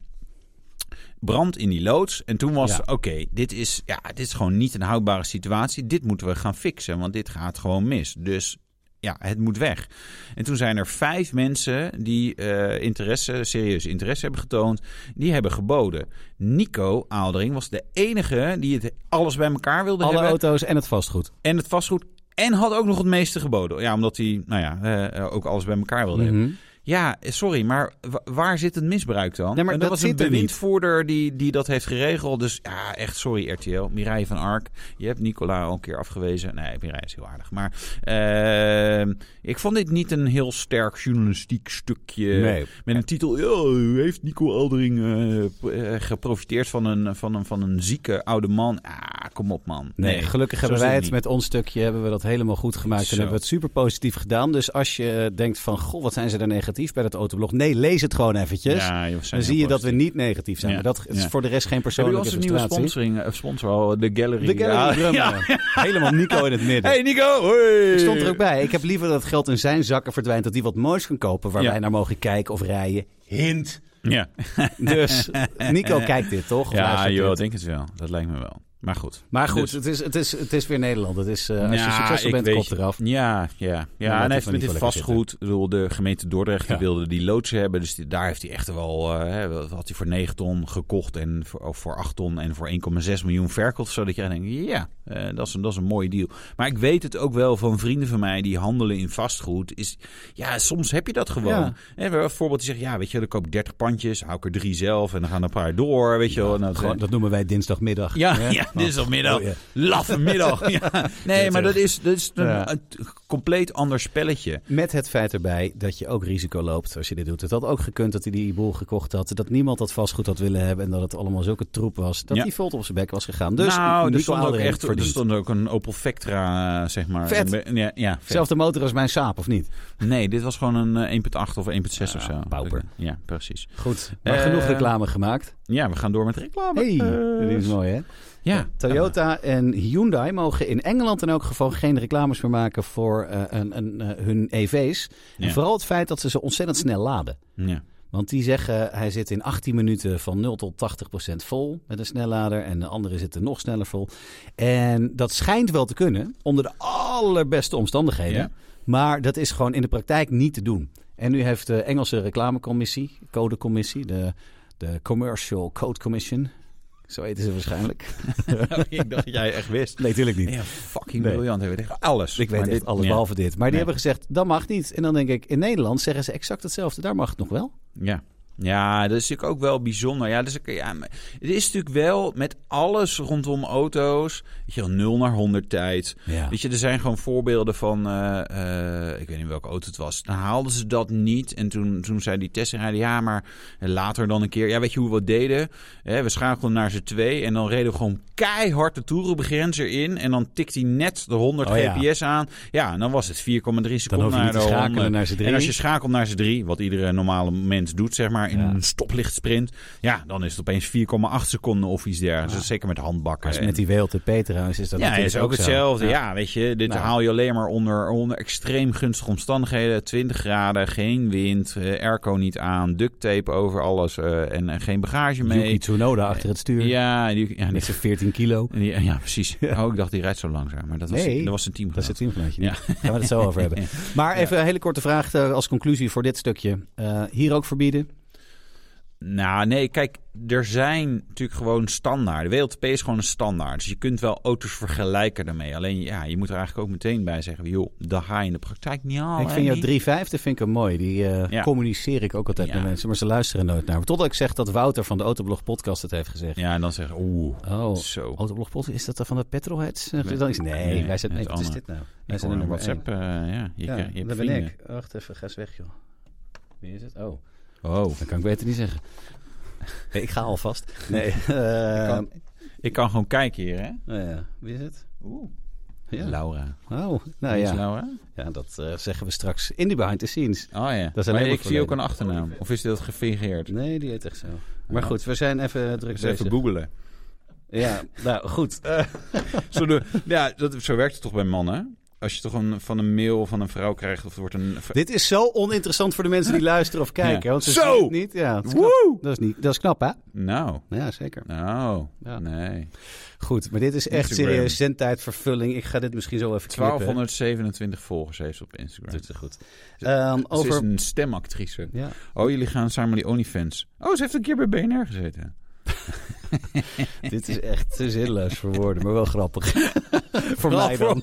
[SPEAKER 1] Brand in die loods. En toen was
[SPEAKER 2] Ja.
[SPEAKER 1] het, oké, dit, is, ja, dit is gewoon niet een houdbare situatie. Dit moeten we gaan fixen, want dit gaat gewoon mis. Dus ja, het moet weg. En toen zijn er vijf mensen die eh, interesse, serieus interesse hebben getoond. Die hebben geboden. Nico Aaldering was de enige die het alles bij elkaar wilde
[SPEAKER 2] Alle
[SPEAKER 1] hebben.
[SPEAKER 2] auto's en het vastgoed.
[SPEAKER 1] En het vastgoed. En had ook nog het meeste geboden. Ja, omdat hij, nou ja, eh, ook alles bij elkaar wilde hebben.
[SPEAKER 2] Mhm.
[SPEAKER 1] Ja, eh, sorry, maar wa- waar zit het misbruik dan?
[SPEAKER 2] Nee, maar
[SPEAKER 1] En
[SPEAKER 2] dat
[SPEAKER 1] was
[SPEAKER 2] zit
[SPEAKER 1] een
[SPEAKER 2] er niet.
[SPEAKER 1] bewindvoerder die, die dat heeft geregeld. Dus ja, echt sorry RTL. Mireille van Ark. Je hebt Nicola al een keer afgewezen. Nee, Mireille is heel aardig. Maar ehm, ik vond dit niet een heel sterk journalistiek stukje.
[SPEAKER 2] Nee.
[SPEAKER 1] Met een titel, "Ja, u heeft Nico Aldering eh, p- eh, geprofiteerd van een, van, een, van een zieke oude man. Ah, kom op man.
[SPEAKER 2] Nee, gelukkig hebben wij het
[SPEAKER 1] met
[SPEAKER 2] met ons stukje hebben we dat helemaal goed gemaakt
[SPEAKER 1] Zo.
[SPEAKER 2] en hebben we het super positief gedaan. Dus als je eh, denkt van, goh, wat zijn ze er negatief bij dat autoblog? Nee, lees het gewoon eventjes.
[SPEAKER 1] Ja, joh, we zijn
[SPEAKER 2] dan zie
[SPEAKER 1] heel
[SPEAKER 2] je dat we niet negatief zijn.
[SPEAKER 1] Ja,
[SPEAKER 2] Maar dat is
[SPEAKER 1] ja.
[SPEAKER 2] voor de rest geen
[SPEAKER 1] Hebben
[SPEAKER 2] persoonlijke
[SPEAKER 1] jullie onze nieuwe
[SPEAKER 2] frustratie.
[SPEAKER 1] sponsoring, eh, sponsor al? De Gallery.
[SPEAKER 2] De Gallery
[SPEAKER 1] Ja.
[SPEAKER 2] Drummer.
[SPEAKER 1] Ja.
[SPEAKER 2] Helemaal Nico in het midden.
[SPEAKER 1] Hey Nico, hoi!
[SPEAKER 2] Ik stond er ook bij. Ik heb liever dat het geld in zijn zakken verdwijnt, dat hij wat moois kan kopen waar
[SPEAKER 1] Ja.
[SPEAKER 2] wij naar mogen kijken of rijden. Hint.
[SPEAKER 1] Ja,
[SPEAKER 2] Dus Nico kijkt dit toch? Of
[SPEAKER 1] ja
[SPEAKER 2] luistert
[SPEAKER 1] joh,
[SPEAKER 2] dit?
[SPEAKER 1] ik denk het wel. Dat lijkt me wel. Maar goed.
[SPEAKER 2] Maar goed,
[SPEAKER 1] Dus-
[SPEAKER 2] het, is, het, is, het is weer Nederland. Het is, eh, als je
[SPEAKER 1] Ja,
[SPEAKER 2] succesvol
[SPEAKER 1] ik
[SPEAKER 2] bent,
[SPEAKER 1] weet
[SPEAKER 2] kop
[SPEAKER 1] je.
[SPEAKER 2] eraf. Nou,
[SPEAKER 1] Ja, ja. ja
[SPEAKER 2] laat
[SPEAKER 1] en
[SPEAKER 2] het
[SPEAKER 1] hij heeft
[SPEAKER 2] maar
[SPEAKER 1] met
[SPEAKER 2] niet
[SPEAKER 1] dit
[SPEAKER 2] voor lekker
[SPEAKER 1] vastgoed, ik bedoel, de gemeente Dordrecht die
[SPEAKER 2] Ja.
[SPEAKER 1] wilde die loods hebben. Dus die- daar heeft hij echt wel, eh, hè, wat had hij voor 9 ton gekocht en voor, of voor 8 ton en voor 1,6 miljoen verkocht. Zodat jij denkt, ja, eh, dat, is een, dat is een mooie deal. Maar ik weet het ook wel van vrienden van mij die handelen in vastgoed. Is, ja, soms heb je dat gewoon.
[SPEAKER 2] Ja.
[SPEAKER 1] Hè, bijvoorbeeld die zegt, ja, weet je, dan koop ik 30 pandjes, hou ik er drie zelf en dan gaan er een paar door, weet je wel. En dat-
[SPEAKER 2] Gewoon, dat noemen wij dinsdagmiddag.
[SPEAKER 1] Oh, nou, ja,
[SPEAKER 2] Hè?
[SPEAKER 1] ja, dit is al middag.
[SPEAKER 2] Oh, ja.
[SPEAKER 1] Laffe middag. Ja. Nee, maar dat is, dat is een,
[SPEAKER 2] Ja.
[SPEAKER 1] een t- compleet ander spelletje.
[SPEAKER 2] Met het feit erbij dat je ook risico loopt als je dit doet. Het had ook gekund dat hij die boel gekocht had. Dat niemand dat vastgoed had willen hebben. En dat het allemaal zulke troep was. Dat
[SPEAKER 1] Ja.
[SPEAKER 2] die volt op zijn bek was gegaan. Dus
[SPEAKER 1] nou, er
[SPEAKER 2] Nico
[SPEAKER 1] stond, ook
[SPEAKER 2] Aldering
[SPEAKER 1] echt, er
[SPEAKER 2] verdient.
[SPEAKER 1] stond ook een Opel Vectra, eh, zeg maar.
[SPEAKER 2] Vet.
[SPEAKER 1] Een be- Ja, ja, vet.
[SPEAKER 2] Zelfde motor als mijn saap, of niet?
[SPEAKER 1] Nee, dit was gewoon een eh, 1.8 of 1.6 of zo.
[SPEAKER 2] pauper.
[SPEAKER 1] Ja, precies.
[SPEAKER 2] Goed. Maar
[SPEAKER 1] Eh,
[SPEAKER 2] genoeg reclame gemaakt.
[SPEAKER 1] Ja, we gaan door met reclame.
[SPEAKER 2] Hey,
[SPEAKER 1] Eh,
[SPEAKER 2] dat is mooi hè?
[SPEAKER 1] ja.
[SPEAKER 2] Toyota en Hyundai mogen in Engeland in elk geval geen reclames meer maken voor eh, een, een, eh, hun EV's.
[SPEAKER 1] Ja.
[SPEAKER 2] En vooral het feit dat ze ze ontzettend snel laden.
[SPEAKER 1] Ja.
[SPEAKER 2] Want die zeggen, hij zit in 18 minuten van 0 tot 80% vol met een snellader. En de andere zitten nog sneller vol. En dat schijnt wel te kunnen, onder de allerbeste omstandigheden.
[SPEAKER 1] Ja.
[SPEAKER 2] Maar dat is gewoon in de praktijk niet te doen. En nu heeft de Engelse reclamecommissie, codecommissie, de, de Commercial Code Commission... Zo heten ze waarschijnlijk.
[SPEAKER 1] ik dacht dat jij echt wist.
[SPEAKER 2] Nee, natuurlijk niet.
[SPEAKER 1] Ja, fucking
[SPEAKER 2] Nee.
[SPEAKER 1] briljant. Hebben we echt alles.
[SPEAKER 2] Ik weet
[SPEAKER 1] Maar
[SPEAKER 2] echt
[SPEAKER 1] dit-
[SPEAKER 2] alles
[SPEAKER 1] ja.
[SPEAKER 2] behalve dit. Maar die
[SPEAKER 1] Nee.
[SPEAKER 2] hebben gezegd, dat mag niet. En dan denk ik, in Nederland zeggen ze exact hetzelfde. Daar mag het nog wel.
[SPEAKER 1] Ja. Ja, dat is natuurlijk ook wel bijzonder. Ja, dat is, ook- ja, maar het is natuurlijk wel met alles rondom auto's. Weet je, wel, 0 naar 100 tijd.
[SPEAKER 2] Ja.
[SPEAKER 1] Weet je, er zijn gewoon voorbeelden van, eh, eh, ik weet niet welke auto het was. Dan haalden ze dat niet. En toen, toen zei die testrijder, ja, maar later dan een keer. Ja, weet je hoe we dat deden? Hè, we schakelden naar z'n twee. En dan reden we gewoon keihard de toerenbegrenzer in. En dan tikt hij net de 100
[SPEAKER 2] Oh ja.
[SPEAKER 1] GPS aan. Ja, en dan was het 4,3
[SPEAKER 2] Dan
[SPEAKER 1] seconden
[SPEAKER 2] hoef je
[SPEAKER 1] naar
[SPEAKER 2] niet
[SPEAKER 1] de
[SPEAKER 2] te schakelen
[SPEAKER 1] 100.
[SPEAKER 2] naar z'n drie.
[SPEAKER 1] En als je schakelt naar z'n drie, wat iedere normale mens doet, zeg maar, in
[SPEAKER 2] Ja.
[SPEAKER 1] een stoplichtsprint. Ja, dan is het opeens 4,8 seconden of iets dergelijks. Dat is Zeker met handbakken.
[SPEAKER 2] Maar is
[SPEAKER 1] en-
[SPEAKER 2] Dus met die WLTP trouwens is dat
[SPEAKER 1] ja,
[SPEAKER 2] natuurlijk
[SPEAKER 1] is ook,
[SPEAKER 2] zo.
[SPEAKER 1] hetzelfde.
[SPEAKER 2] Ja.
[SPEAKER 1] Ja. weet je, dit
[SPEAKER 2] Nou.
[SPEAKER 1] haal je alleen maar onder, onder extreem gunstige omstandigheden. 20 graden, geen wind, eh, airco niet aan, duct tape over alles eh, en, en geen bagage
[SPEAKER 2] Yuki
[SPEAKER 1] mee.
[SPEAKER 2] Tsunoda achter het stuur.
[SPEAKER 1] Ja, die, ja, die-
[SPEAKER 2] Met zijn 14 kilo.
[SPEAKER 1] die- ja, precies. Oh, ik dacht, die rijdt zo langzaam. Maar dat was,
[SPEAKER 2] Nee,
[SPEAKER 1] dat was een team.
[SPEAKER 2] Dat is het teamgenootje.
[SPEAKER 1] Ja.
[SPEAKER 2] Ja. Gaan we het zo over hebben. Maar even een hele korte vraag eh, als conclusie voor dit stukje. Eh, hier ook verbieden?
[SPEAKER 1] Nou, nee, kijk, er zijn natuurlijk gewoon standaarden. WLTP is gewoon een standaard. Dus je kunt wel auto's vergelijken daarmee. Alleen ja, je moet er eigenlijk ook meteen bij zeggen: joh, dat ga je in de praktijk niet halen.
[SPEAKER 2] ik vind jouw 350 vind ik een mooi. Die eh,
[SPEAKER 1] Ja.
[SPEAKER 2] communiceer ik ook altijd
[SPEAKER 1] Ja.
[SPEAKER 2] met mensen, maar ze luisteren nooit naar me. Totdat ik zeg dat Wouter van de Autoblog podcast het heeft gezegd.
[SPEAKER 1] Ja, en dan zeggen ze: oeh,
[SPEAKER 2] Oh,
[SPEAKER 1] zo.
[SPEAKER 2] Autoblog podcast, is dat dan van de petrolheads? Nee,
[SPEAKER 1] Nee.
[SPEAKER 2] dan is, nee,
[SPEAKER 1] Nee,
[SPEAKER 2] wij zijn, nee,
[SPEAKER 1] het
[SPEAKER 2] wat is
[SPEAKER 1] andere.
[SPEAKER 2] dit nou? Wij
[SPEAKER 1] Ik
[SPEAKER 2] zijn
[SPEAKER 1] hoor
[SPEAKER 2] de
[SPEAKER 1] een
[SPEAKER 2] nummer één.
[SPEAKER 1] WhatsApp. eh, ja, je, je hebt
[SPEAKER 2] dat ben
[SPEAKER 1] vrienden.
[SPEAKER 2] ik. Wacht even, ga eens weg joh. Wie is het? Oh,
[SPEAKER 1] Oh,
[SPEAKER 2] dat kan ik beter niet zeggen. Nee, ik ga alvast. Nee. eh,
[SPEAKER 1] kan- ik kan gewoon kijken hier, hè?
[SPEAKER 2] nou ja, Wie is het?
[SPEAKER 1] Oeh.
[SPEAKER 2] Ja.
[SPEAKER 1] Laura.
[SPEAKER 2] Oh, nou
[SPEAKER 1] Wie is
[SPEAKER 2] ja.
[SPEAKER 1] Laura?
[SPEAKER 2] ja dat eh, zeggen we straks in die behind the scenes.
[SPEAKER 1] Oh ja.
[SPEAKER 2] Dat is alleen
[SPEAKER 1] maar
[SPEAKER 2] maar
[SPEAKER 1] ik zie ook een
[SPEAKER 2] verleden.
[SPEAKER 1] achternaam. Of is dat gefingeerd?
[SPEAKER 2] Nee, die heet echt zo. Maar goed, we zijn even druk
[SPEAKER 1] Dus even
[SPEAKER 2] bezig.
[SPEAKER 1] googelen.
[SPEAKER 2] Ja, nou goed.
[SPEAKER 1] Zo, de- ja, dat, zo werkt het toch bij mannen? Als je toch een, van een mail van een vrouw krijgt of er wordt een...
[SPEAKER 2] Dit is zo oninteressant voor de mensen die luisteren of kijken.
[SPEAKER 1] Ja.
[SPEAKER 2] Want ze
[SPEAKER 1] Zo!
[SPEAKER 2] zien het niet. Ja, dat is knap.
[SPEAKER 1] Woe!
[SPEAKER 2] Dat is, niet, dat is knap, hè?
[SPEAKER 1] Nou,
[SPEAKER 2] Ja, zeker.
[SPEAKER 1] nou,
[SPEAKER 2] Ja.
[SPEAKER 1] nee.
[SPEAKER 2] Goed, maar dit is echt
[SPEAKER 1] Instagram.
[SPEAKER 2] serieus zendtijdvervulling. Ik ga dit misschien zo even knippen.
[SPEAKER 1] 1227 volgers heeft ze op Instagram.
[SPEAKER 2] Doet ze goed. Ehm,
[SPEAKER 1] Ze is
[SPEAKER 2] over...
[SPEAKER 1] een stemactrice.
[SPEAKER 2] Ja.
[SPEAKER 1] Oh, jullie gaan samen die OnlyFans. Oh, ze heeft een keer bij BNR gezeten.
[SPEAKER 2] Dit is echt te zinloos voor woorden, maar wel grappig. voor mij dan.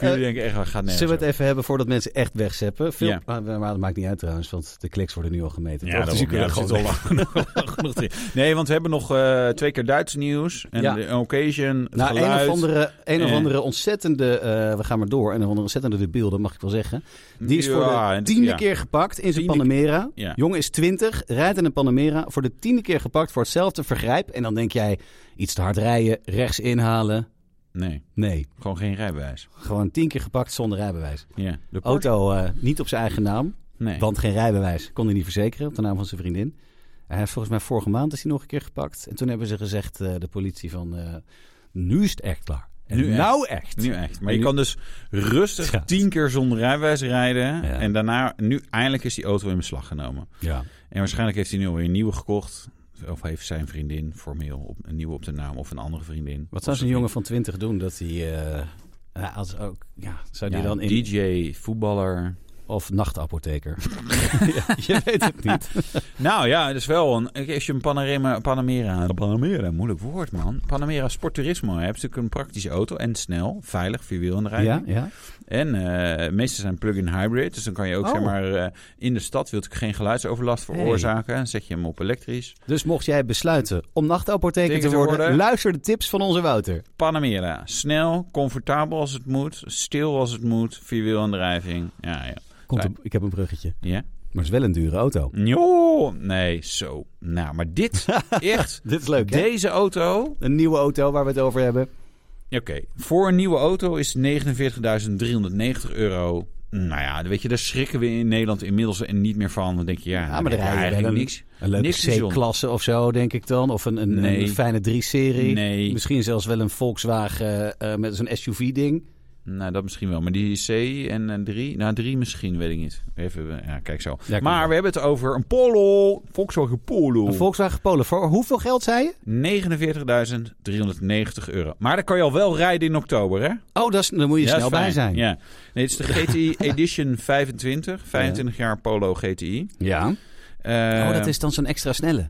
[SPEAKER 1] Jullie denken echt, het gaat nergens
[SPEAKER 2] Eh, Zullen we
[SPEAKER 1] over.
[SPEAKER 2] het even hebben voordat mensen echt wegzeppen? Veel...
[SPEAKER 1] Ja.
[SPEAKER 2] Maar, maar dat maakt niet uit trouwens, want de kliks worden nu al gemeten.
[SPEAKER 1] Ja,
[SPEAKER 2] toch?
[SPEAKER 1] dat
[SPEAKER 2] dus je kunt
[SPEAKER 1] ja,
[SPEAKER 2] het
[SPEAKER 1] dat
[SPEAKER 2] gewoon
[SPEAKER 1] zit al lang genoeg- genoeg in. Nee, want we hebben nog eh, twee keer Duits nieuws. En
[SPEAKER 2] Ja.
[SPEAKER 1] de occasion, het
[SPEAKER 2] Nou, een
[SPEAKER 1] geluid.
[SPEAKER 2] of andere, een of
[SPEAKER 1] Eh.
[SPEAKER 2] andere ontzettende, eh, we gaan maar door, een of andere ontzettende debiel, dat mag ik wel zeggen. Die is voor
[SPEAKER 1] Ja,
[SPEAKER 2] de
[SPEAKER 1] en-
[SPEAKER 2] tiende
[SPEAKER 1] ja.
[SPEAKER 2] keer gepakt in zijn
[SPEAKER 1] Tiende
[SPEAKER 2] Panamera.
[SPEAKER 1] Ja.
[SPEAKER 2] Jongen is twintig, rijdt in een Panamera, voor de tiende keer gepakt voor hetzelfde vergrijp. En dan denk jij, iets te hard rijden, rechts inhalen.
[SPEAKER 1] Nee,
[SPEAKER 2] Nee,
[SPEAKER 1] gewoon geen rijbewijs.
[SPEAKER 2] gewoon tien keer gepakt zonder rijbewijs.
[SPEAKER 1] Ja, de Porsche?
[SPEAKER 2] Auto eh, niet op zijn eigen naam,
[SPEAKER 1] Nee.
[SPEAKER 2] want geen rijbewijs. Kon hij niet verzekeren op de naam van zijn vriendin. Hij heeft volgens mij vorige maand is hij nog een keer gepakt. En toen hebben ze gezegd, eh, de politie, van eh, nu is het echt klaar. En
[SPEAKER 1] Nu echt.
[SPEAKER 2] nou echt.
[SPEAKER 1] Nu echt. Maar
[SPEAKER 2] En
[SPEAKER 1] je
[SPEAKER 2] nu-
[SPEAKER 1] kan dus rustig
[SPEAKER 2] Ja.
[SPEAKER 1] tien keer zonder rijbewijs rijden. En daarna, nu eindelijk is die auto in beslag genomen.
[SPEAKER 2] Ja.
[SPEAKER 1] En waarschijnlijk heeft hij nu alweer een nieuwe gekocht. Of heeft zijn vriendin formeel op, een nieuwe op de naam of een andere vriendin.
[SPEAKER 2] Wat
[SPEAKER 1] Of
[SPEAKER 2] zou zo'n
[SPEAKER 1] zijn
[SPEAKER 2] jongen van 20 doen dat hij. eh, ja, als ook, ja, zou die
[SPEAKER 1] vriendin.
[SPEAKER 2] dan in.
[SPEAKER 1] Ja, DJ, voetballer.
[SPEAKER 2] Of nachtapotheker. Ja, je weet het niet.
[SPEAKER 1] Nou ja, dat is wel een. kijk, Als je een Panamera. Panamera, Panamera moeilijk woord man. Panamera Sportturismo hebt, is natuurlijk een praktische auto. En snel, veilig, vierwielaandrijving.
[SPEAKER 2] Ja, ja.
[SPEAKER 1] En eh meestal zijn plug-in hybrid. Dus dan kan je ook
[SPEAKER 2] Oh.
[SPEAKER 1] zeg maar eh, in de stad wil ik geen geluidsoverlast veroorzaken. Dan zet je hem op elektrisch.
[SPEAKER 2] Dus mocht jij besluiten om nachtapotheker
[SPEAKER 1] Tegen
[SPEAKER 2] te
[SPEAKER 1] te
[SPEAKER 2] worden,
[SPEAKER 1] worden.
[SPEAKER 2] luister de tips van onze Wouter.
[SPEAKER 1] Panamera. Snel, comfortabel als het moet. Stil als het moet. Vierwielaandrijving. Ja, ja.
[SPEAKER 2] Komt een- ik heb een bruggetje.
[SPEAKER 1] Ja?
[SPEAKER 2] Maar het is wel een dure auto.
[SPEAKER 1] Jo, nee, zo. Nou, maar dit, echt,
[SPEAKER 2] Dit is leuk. hè?
[SPEAKER 1] deze auto.
[SPEAKER 2] Een nieuwe auto waar we het over hebben.
[SPEAKER 1] Oké, voor een nieuwe auto is 49.390 euro. Nou ja, weet je, daar schrikken we in Nederland inmiddels en niet meer van. Dan denk je, ja,
[SPEAKER 2] Ja, maar
[SPEAKER 1] daar heb
[SPEAKER 2] daar
[SPEAKER 1] je
[SPEAKER 2] rij je
[SPEAKER 1] eigenlijk
[SPEAKER 2] wel
[SPEAKER 1] niks.
[SPEAKER 2] Een leuke
[SPEAKER 1] Niks bijzonder.
[SPEAKER 2] C-klasse of zo, denk ik dan. Of een, een,
[SPEAKER 1] Nee.
[SPEAKER 2] een fijne 3-serie.
[SPEAKER 1] Nee.
[SPEAKER 2] Misschien zelfs wel een Volkswagen eh, met zo'n SUV-ding.
[SPEAKER 1] Nou, dat misschien wel. Maar die C en 3, nou 3 misschien, weet ik niet. Even, eh, ja, kijk zo.
[SPEAKER 2] Ja, kan
[SPEAKER 1] maar
[SPEAKER 2] wel.
[SPEAKER 1] we hebben het over een Polo, Volkswagen Polo.
[SPEAKER 2] Een Volkswagen Polo. Voor hoeveel geld zei je?
[SPEAKER 1] 49.390 euro. Maar daar kan je al wel rijden in oktober, hè?
[SPEAKER 2] Oh, dat is, daar moet je
[SPEAKER 1] Ja, dat
[SPEAKER 2] snel
[SPEAKER 1] is fijn.
[SPEAKER 2] bij zijn.
[SPEAKER 1] Ja. Nee, het is de GTI Edition 25. 25 jaar Polo GTI.
[SPEAKER 2] Ja.
[SPEAKER 1] Eh,
[SPEAKER 2] oh, dat is dan zo'n extra snelle.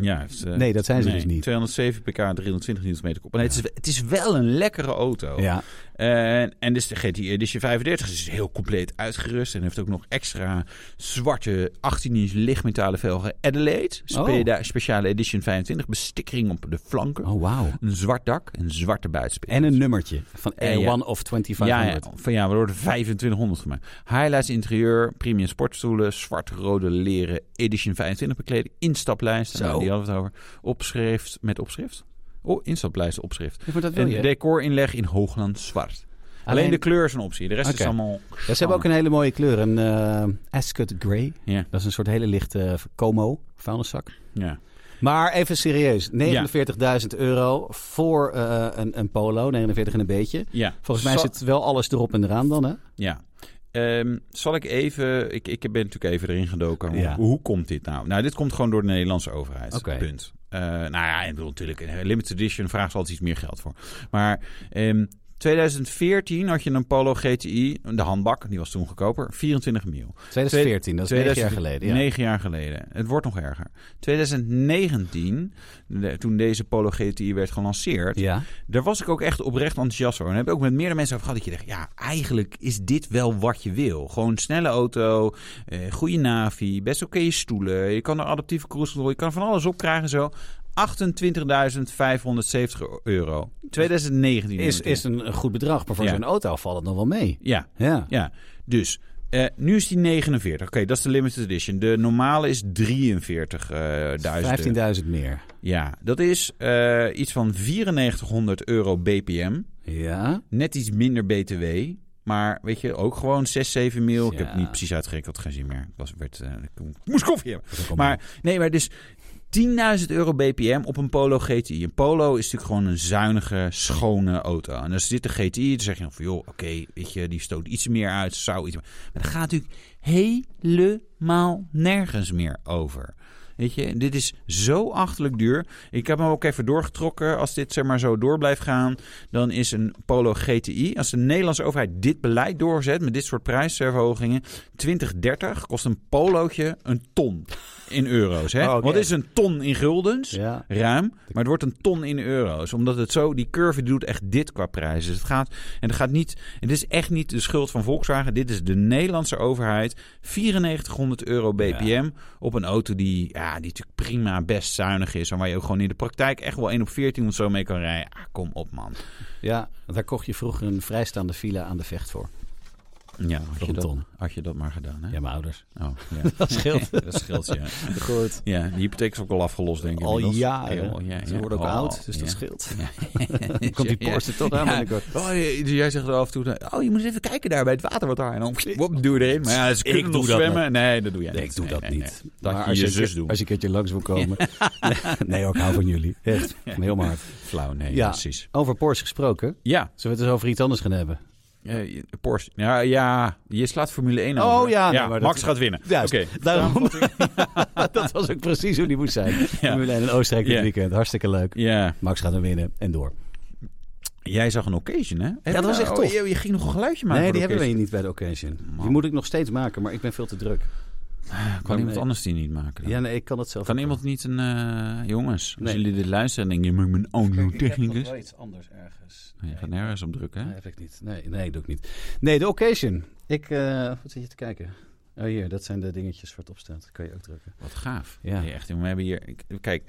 [SPEAKER 1] Ja, het, eh,
[SPEAKER 2] Nee, dat zijn ze dus niet.
[SPEAKER 1] 207 pk, 320 Nm kop. Nee, het, is, het is wel een lekkere auto.
[SPEAKER 2] Ja.
[SPEAKER 1] En, en dus de GTI Edition 35 is heel compleet uitgerust. En heeft ook nog extra zwarte 18-inch lichtmetalen velgen Adelaide. Speda- Speciale Edition 25. Bestikkering op de flanken.
[SPEAKER 2] Oh, wauw.
[SPEAKER 1] Een zwart dak en zwarte buitenspiegel.
[SPEAKER 2] En een nummertje van A1
[SPEAKER 1] Eh, ja.
[SPEAKER 2] of
[SPEAKER 1] Ja, ja,
[SPEAKER 2] 2500.
[SPEAKER 1] van ja, we worden 2500 van mij. Highlights interieur, premium sportstoelen, zwart-rode leren Edition 25 bekleding, instaplijst,
[SPEAKER 2] Zo.
[SPEAKER 1] nou, die hadden we het over. Opschrift met opschrift. Oh, instaplijst, opschrift.
[SPEAKER 2] Ja, maar dat wil
[SPEAKER 1] En
[SPEAKER 2] je.
[SPEAKER 1] decorinleg in Hoogland zwart. Alleen,
[SPEAKER 2] Alleen-
[SPEAKER 1] de Oh. kleur is een optie. De rest
[SPEAKER 2] Oké.
[SPEAKER 1] is allemaal.
[SPEAKER 2] Ja, ze hebben ook een hele mooie kleur. Een eh Ascot Grey.
[SPEAKER 1] Ja,
[SPEAKER 2] Dat is een soort hele lichte eh, Como vuilniszak.
[SPEAKER 1] ja.
[SPEAKER 2] Maar even serieus. 49.000 euro voor eh, een, een polo. 49 en een beetje.
[SPEAKER 1] ja.
[SPEAKER 2] Volgens mij
[SPEAKER 1] Zal-
[SPEAKER 2] zit wel alles erop en eraan dan, hè?
[SPEAKER 1] Ja. Ehm, zal ik even. Ik, ik ben natuurlijk even erin gedoken. Hoe,
[SPEAKER 2] Ja.
[SPEAKER 1] hoe komt dit nou? Nou, dit komt gewoon door de Nederlandse overheid.
[SPEAKER 2] Oké.
[SPEAKER 1] Punt. Eh, nou ja, ik bedoel natuurlijk. een Limited edition vraagt altijd iets meer geld voor. Maar ehm, 2014 had je een Polo GTI, de handbak, die was toen goedkoper, 24 mil.
[SPEAKER 2] 2014, dat is 9 jaar geleden. Ja.
[SPEAKER 1] 9 jaar geleden. Het wordt nog erger. 2019, de- toen deze Polo GTI werd gelanceerd,
[SPEAKER 2] Ja.
[SPEAKER 1] daar was ik ook echt oprecht enthousiast over. En heb ik ook met meerdere mensen over gehad dat je dacht, ja, eigenlijk is dit wel wat je wil. Gewoon een snelle auto, eh goede navi, best oké stoelen, je kan er adaptieve cruise control, je kan van alles op krijgen en zo. 28.570 euro. 2019 inmiddels.
[SPEAKER 2] Is, is een een goed bedrag, maar voor
[SPEAKER 1] Ja.
[SPEAKER 2] zo'n auto valt het nog wel mee.
[SPEAKER 1] Ja,
[SPEAKER 2] Ja.
[SPEAKER 1] ja. Dus eh, nu is die 49. Oké, dat is de limited edition. De normale is 43.000. euro.
[SPEAKER 2] 15.000 meer.
[SPEAKER 1] ja, dat is eh, iets van 9400 euro BPM.
[SPEAKER 2] Ja.
[SPEAKER 1] Net iets minder BTW. Maar weet je, ook gewoon 6, 7 mil. Ik heb
[SPEAKER 2] Ja.
[SPEAKER 1] het niet precies uitgerekend, ik had geen zin meer. Ik, was, werd, eh, ik moest koffie hebben.
[SPEAKER 2] Dat is ook allemaal-
[SPEAKER 1] Maar nee, maar dus 10.000 euro BPM op een Polo GTI. Een Polo is natuurlijk gewoon een zuinige, schone auto. En als dit een GTI, dan zeg je nog van... joh, oké, weet je, die stoot iets meer uit, zou iets... meer- Maar dat gaat natuurlijk helemaal nergens meer over. Weet je, dit is zo achterlijk duur. Ik heb hem ook even doorgetrokken. Als dit zeg maar zo door blijft gaan, dan is een Polo GTI... als de Nederlandse overheid dit beleid doorzet... met dit soort prijsverhogingen... 2030 kost een polootje een ton in euro's. Hè?
[SPEAKER 2] Oh, oké.
[SPEAKER 1] Wat is een ton in guldens?
[SPEAKER 2] Ja.
[SPEAKER 1] Ruim, maar het wordt een ton in euro's. Omdat het zo, die curve die doet echt dit qua prijzen. Dus het gaat, en het gaat niet, het is echt niet de schuld van Volkswagen. Dit is de Nederlandse overheid. 9400 euro BPM op een auto die, ja, die natuurlijk prima best zuinig is. En waar je ook gewoon in de praktijk echt wel 1 op 14 of zo mee kan rijden. Ah, kom op man.
[SPEAKER 2] ja, daar kocht je vroeger een vrijstaande villa aan de vecht voor.
[SPEAKER 1] Ja, had je
[SPEAKER 2] een
[SPEAKER 1] dat,
[SPEAKER 2] ton.
[SPEAKER 1] had je dat maar gedaan hè?
[SPEAKER 2] Ja, mijn ouders.
[SPEAKER 1] Oh, ja.
[SPEAKER 2] Dat scheelt.
[SPEAKER 1] dat scheelt ja.
[SPEAKER 2] Goed.
[SPEAKER 1] Ja, die hypotheek is ook al afgelost denk ik.
[SPEAKER 2] Al
[SPEAKER 1] inmiddels.
[SPEAKER 2] jaren.
[SPEAKER 1] Heel- ja,
[SPEAKER 2] Ze
[SPEAKER 1] ja.
[SPEAKER 2] worden ook
[SPEAKER 1] Oh,
[SPEAKER 2] oud, dus dat
[SPEAKER 1] ja.
[SPEAKER 2] scheelt.
[SPEAKER 1] Ja.
[SPEAKER 2] Komt die
[SPEAKER 1] Ja.
[SPEAKER 2] Porsche toch aan
[SPEAKER 1] Ja.
[SPEAKER 2] binnenkort.
[SPEAKER 1] Oh, je- dus jij zegt er af en toe, oh, je moet eens even kijken daar bij het water wat daar. En dan wop, doe je erin. Maar ja, ze kunnen
[SPEAKER 2] doe
[SPEAKER 1] nog
[SPEAKER 2] dat
[SPEAKER 1] zwemmen. Nee, dat doe jij
[SPEAKER 2] Nee,
[SPEAKER 1] niet.
[SPEAKER 2] ik doe
[SPEAKER 1] Nee,
[SPEAKER 2] dat
[SPEAKER 1] nee,
[SPEAKER 2] niet.
[SPEAKER 1] nee. Dat
[SPEAKER 2] Maar
[SPEAKER 1] je je
[SPEAKER 2] een
[SPEAKER 1] zus
[SPEAKER 2] keer-
[SPEAKER 1] doet.
[SPEAKER 2] Als je een keertje langs wil komen. nee, ook hou van jullie. Echt. Heel maar.
[SPEAKER 1] Flauw, nee,
[SPEAKER 2] Ja.
[SPEAKER 1] precies.
[SPEAKER 2] Over Porsche gesproken.
[SPEAKER 1] Ja,
[SPEAKER 2] Zullen we het eens over iets anders gaan hebben?
[SPEAKER 1] eh, je- Porsche. Ja, ja, je slaat Formule 1
[SPEAKER 2] Oh,
[SPEAKER 1] over.
[SPEAKER 2] ja, nee, maar dat-
[SPEAKER 1] Max gaat winnen.
[SPEAKER 2] Juist.
[SPEAKER 1] Oké.
[SPEAKER 2] Daarom. dat was ook precies hoe die moest zijn. Formule 1 in Oostenrijk dit
[SPEAKER 1] Ja.
[SPEAKER 2] weekend. Hartstikke leuk.
[SPEAKER 1] Ja,
[SPEAKER 2] Max gaat hem winnen en door.
[SPEAKER 1] jij zag een occasion, hè? Heb
[SPEAKER 2] dat
[SPEAKER 1] je
[SPEAKER 2] was
[SPEAKER 1] nou-
[SPEAKER 2] echt
[SPEAKER 1] oh,
[SPEAKER 2] tof.
[SPEAKER 1] Je, je ging nog een geluidje maken.
[SPEAKER 2] nee,
[SPEAKER 1] voor
[SPEAKER 2] die
[SPEAKER 1] de
[SPEAKER 2] hebben we niet bij de occasion. Die
[SPEAKER 1] Man.
[SPEAKER 2] moet ik nog steeds maken, maar ik ben veel te druk.
[SPEAKER 1] occasion. Kan iemand anders die niet maken? dan?
[SPEAKER 2] Ja, nee, ik kan het zelf
[SPEAKER 1] Kan
[SPEAKER 2] ook
[SPEAKER 1] iemand niet een... eh, jongens, als
[SPEAKER 2] Nee.
[SPEAKER 1] jullie dit luisteren en denken... Je moet mijn own
[SPEAKER 2] Ik heb
[SPEAKER 1] technicus.
[SPEAKER 2] nog wel iets anders ergens.
[SPEAKER 1] Nee, Je gaat nergens op drukken, hè?
[SPEAKER 2] Nee, heb ik niet. Nee, nee, doe ik niet. Nee, de occasion. Ik, eh, wat zit je te kijken? Oh, hier, dat zijn de dingetjes waar het op staat. Dat kan je ook drukken.
[SPEAKER 1] Wat gaaf.
[SPEAKER 2] Ja.
[SPEAKER 1] Ja. echt, jongen, we hebben hier... ik- Kijk,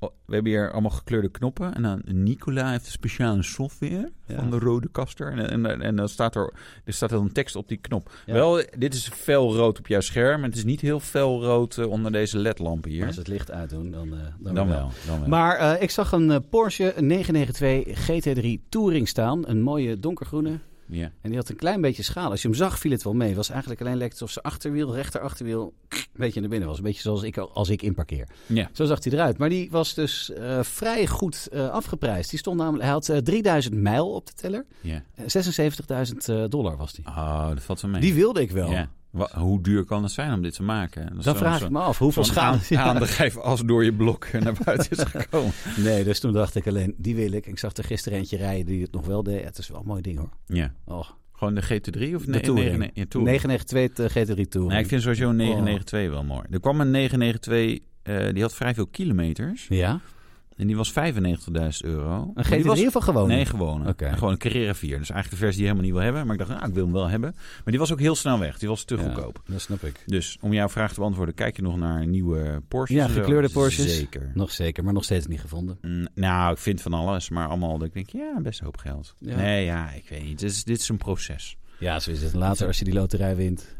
[SPEAKER 1] oh, we hebben hier allemaal gekleurde knoppen. En dan Nicola heeft een speciale software
[SPEAKER 2] Ja.
[SPEAKER 1] van de rode kaster. En, en, en dan staat er, er staat dan een tekst op die knop.
[SPEAKER 2] Ja.
[SPEAKER 1] Wel, dit is fel rood op jouw scherm. Het is niet heel fel rood eh, onder deze ledlampen
[SPEAKER 2] Maar
[SPEAKER 1] hier.
[SPEAKER 2] als het licht uitdoen, dan, eh, dan,
[SPEAKER 1] Dan, wel, dan wel.
[SPEAKER 2] Maar eh, ik zag een eh, Porsche 992 GT3 Touring staan. Een mooie donkergroene.
[SPEAKER 1] ja.
[SPEAKER 2] En die had een klein beetje schaal. Als je hem zag, viel het wel mee. Het was eigenlijk alleen lekker of zijn achterwiel, rechter achterwiel, een beetje naar binnen was. Een beetje zoals ik als ik inparkeer.
[SPEAKER 1] Ja.
[SPEAKER 2] Zo zag hij eruit. Maar die was dus eh, vrij goed eh, afgeprijsd. Die stond namelijk, hij had eh, 3000 mijl op de teller.
[SPEAKER 1] ja.
[SPEAKER 2] Eh, 76.000 eh, dollar was die.
[SPEAKER 1] Oh, dat valt wel mee.
[SPEAKER 2] Die wilde ik wel.
[SPEAKER 1] ja. Wa- Hoe duur kan het zijn om dit te maken? Dat is
[SPEAKER 2] Dan
[SPEAKER 1] zo'n-
[SPEAKER 2] vraag ik
[SPEAKER 1] zo'n-
[SPEAKER 2] me af, hoeveel
[SPEAKER 1] zo'n
[SPEAKER 2] schade...
[SPEAKER 1] aan-
[SPEAKER 2] Ja.
[SPEAKER 1] aandrijf als door je blok naar buiten is gekomen.
[SPEAKER 2] Nee, dus toen dacht ik alleen, die wil ik. Ik zag er gisteren eentje rijden die het nog wel deed. Het is wel een mooi ding hoor.
[SPEAKER 1] ja.
[SPEAKER 2] Oh,
[SPEAKER 1] Gewoon de GT3 of
[SPEAKER 2] de
[SPEAKER 1] nee,
[SPEAKER 2] Touring.
[SPEAKER 1] nee, nee, ja, Touring.
[SPEAKER 2] 992 GT3 Touring.
[SPEAKER 1] Nee, ik vind sowieso een
[SPEAKER 2] Oh.
[SPEAKER 1] 992 wel mooi. Er kwam een 992, eh, die had vrij veel kilometers.
[SPEAKER 2] Ja?
[SPEAKER 1] En die was 95.000 euro.
[SPEAKER 2] Een
[SPEAKER 1] Maar
[SPEAKER 2] GT3
[SPEAKER 1] die was,
[SPEAKER 2] of een gewone?
[SPEAKER 1] Nee, gewoon.
[SPEAKER 2] Oké.
[SPEAKER 1] En Gewoon een Carrera 4. Dus eigenlijk de versie die je helemaal niet wil hebben. Maar ik dacht, nou, ik wil hem wel hebben. Maar die was ook heel snel weg. Die was te
[SPEAKER 2] Ja,
[SPEAKER 1] goedkoop.
[SPEAKER 2] Dat snap ik.
[SPEAKER 1] Dus om jouw vraag te beantwoorden, kijk je nog naar nieuwe Porsches?
[SPEAKER 2] Ja,
[SPEAKER 1] en zo?
[SPEAKER 2] gekleurde Porsches.
[SPEAKER 1] Zeker.
[SPEAKER 2] Nog zeker, maar nog steeds niet gevonden.
[SPEAKER 1] Mm, Nou, ik vind van alles, maar allemaal. dat Ik denk, ja, best een hoop geld.
[SPEAKER 2] Ja.
[SPEAKER 1] Nee, ja, ik weet niet. Dit is, dit is een proces.
[SPEAKER 2] Ja, zo is het. Later als je die loterij wint.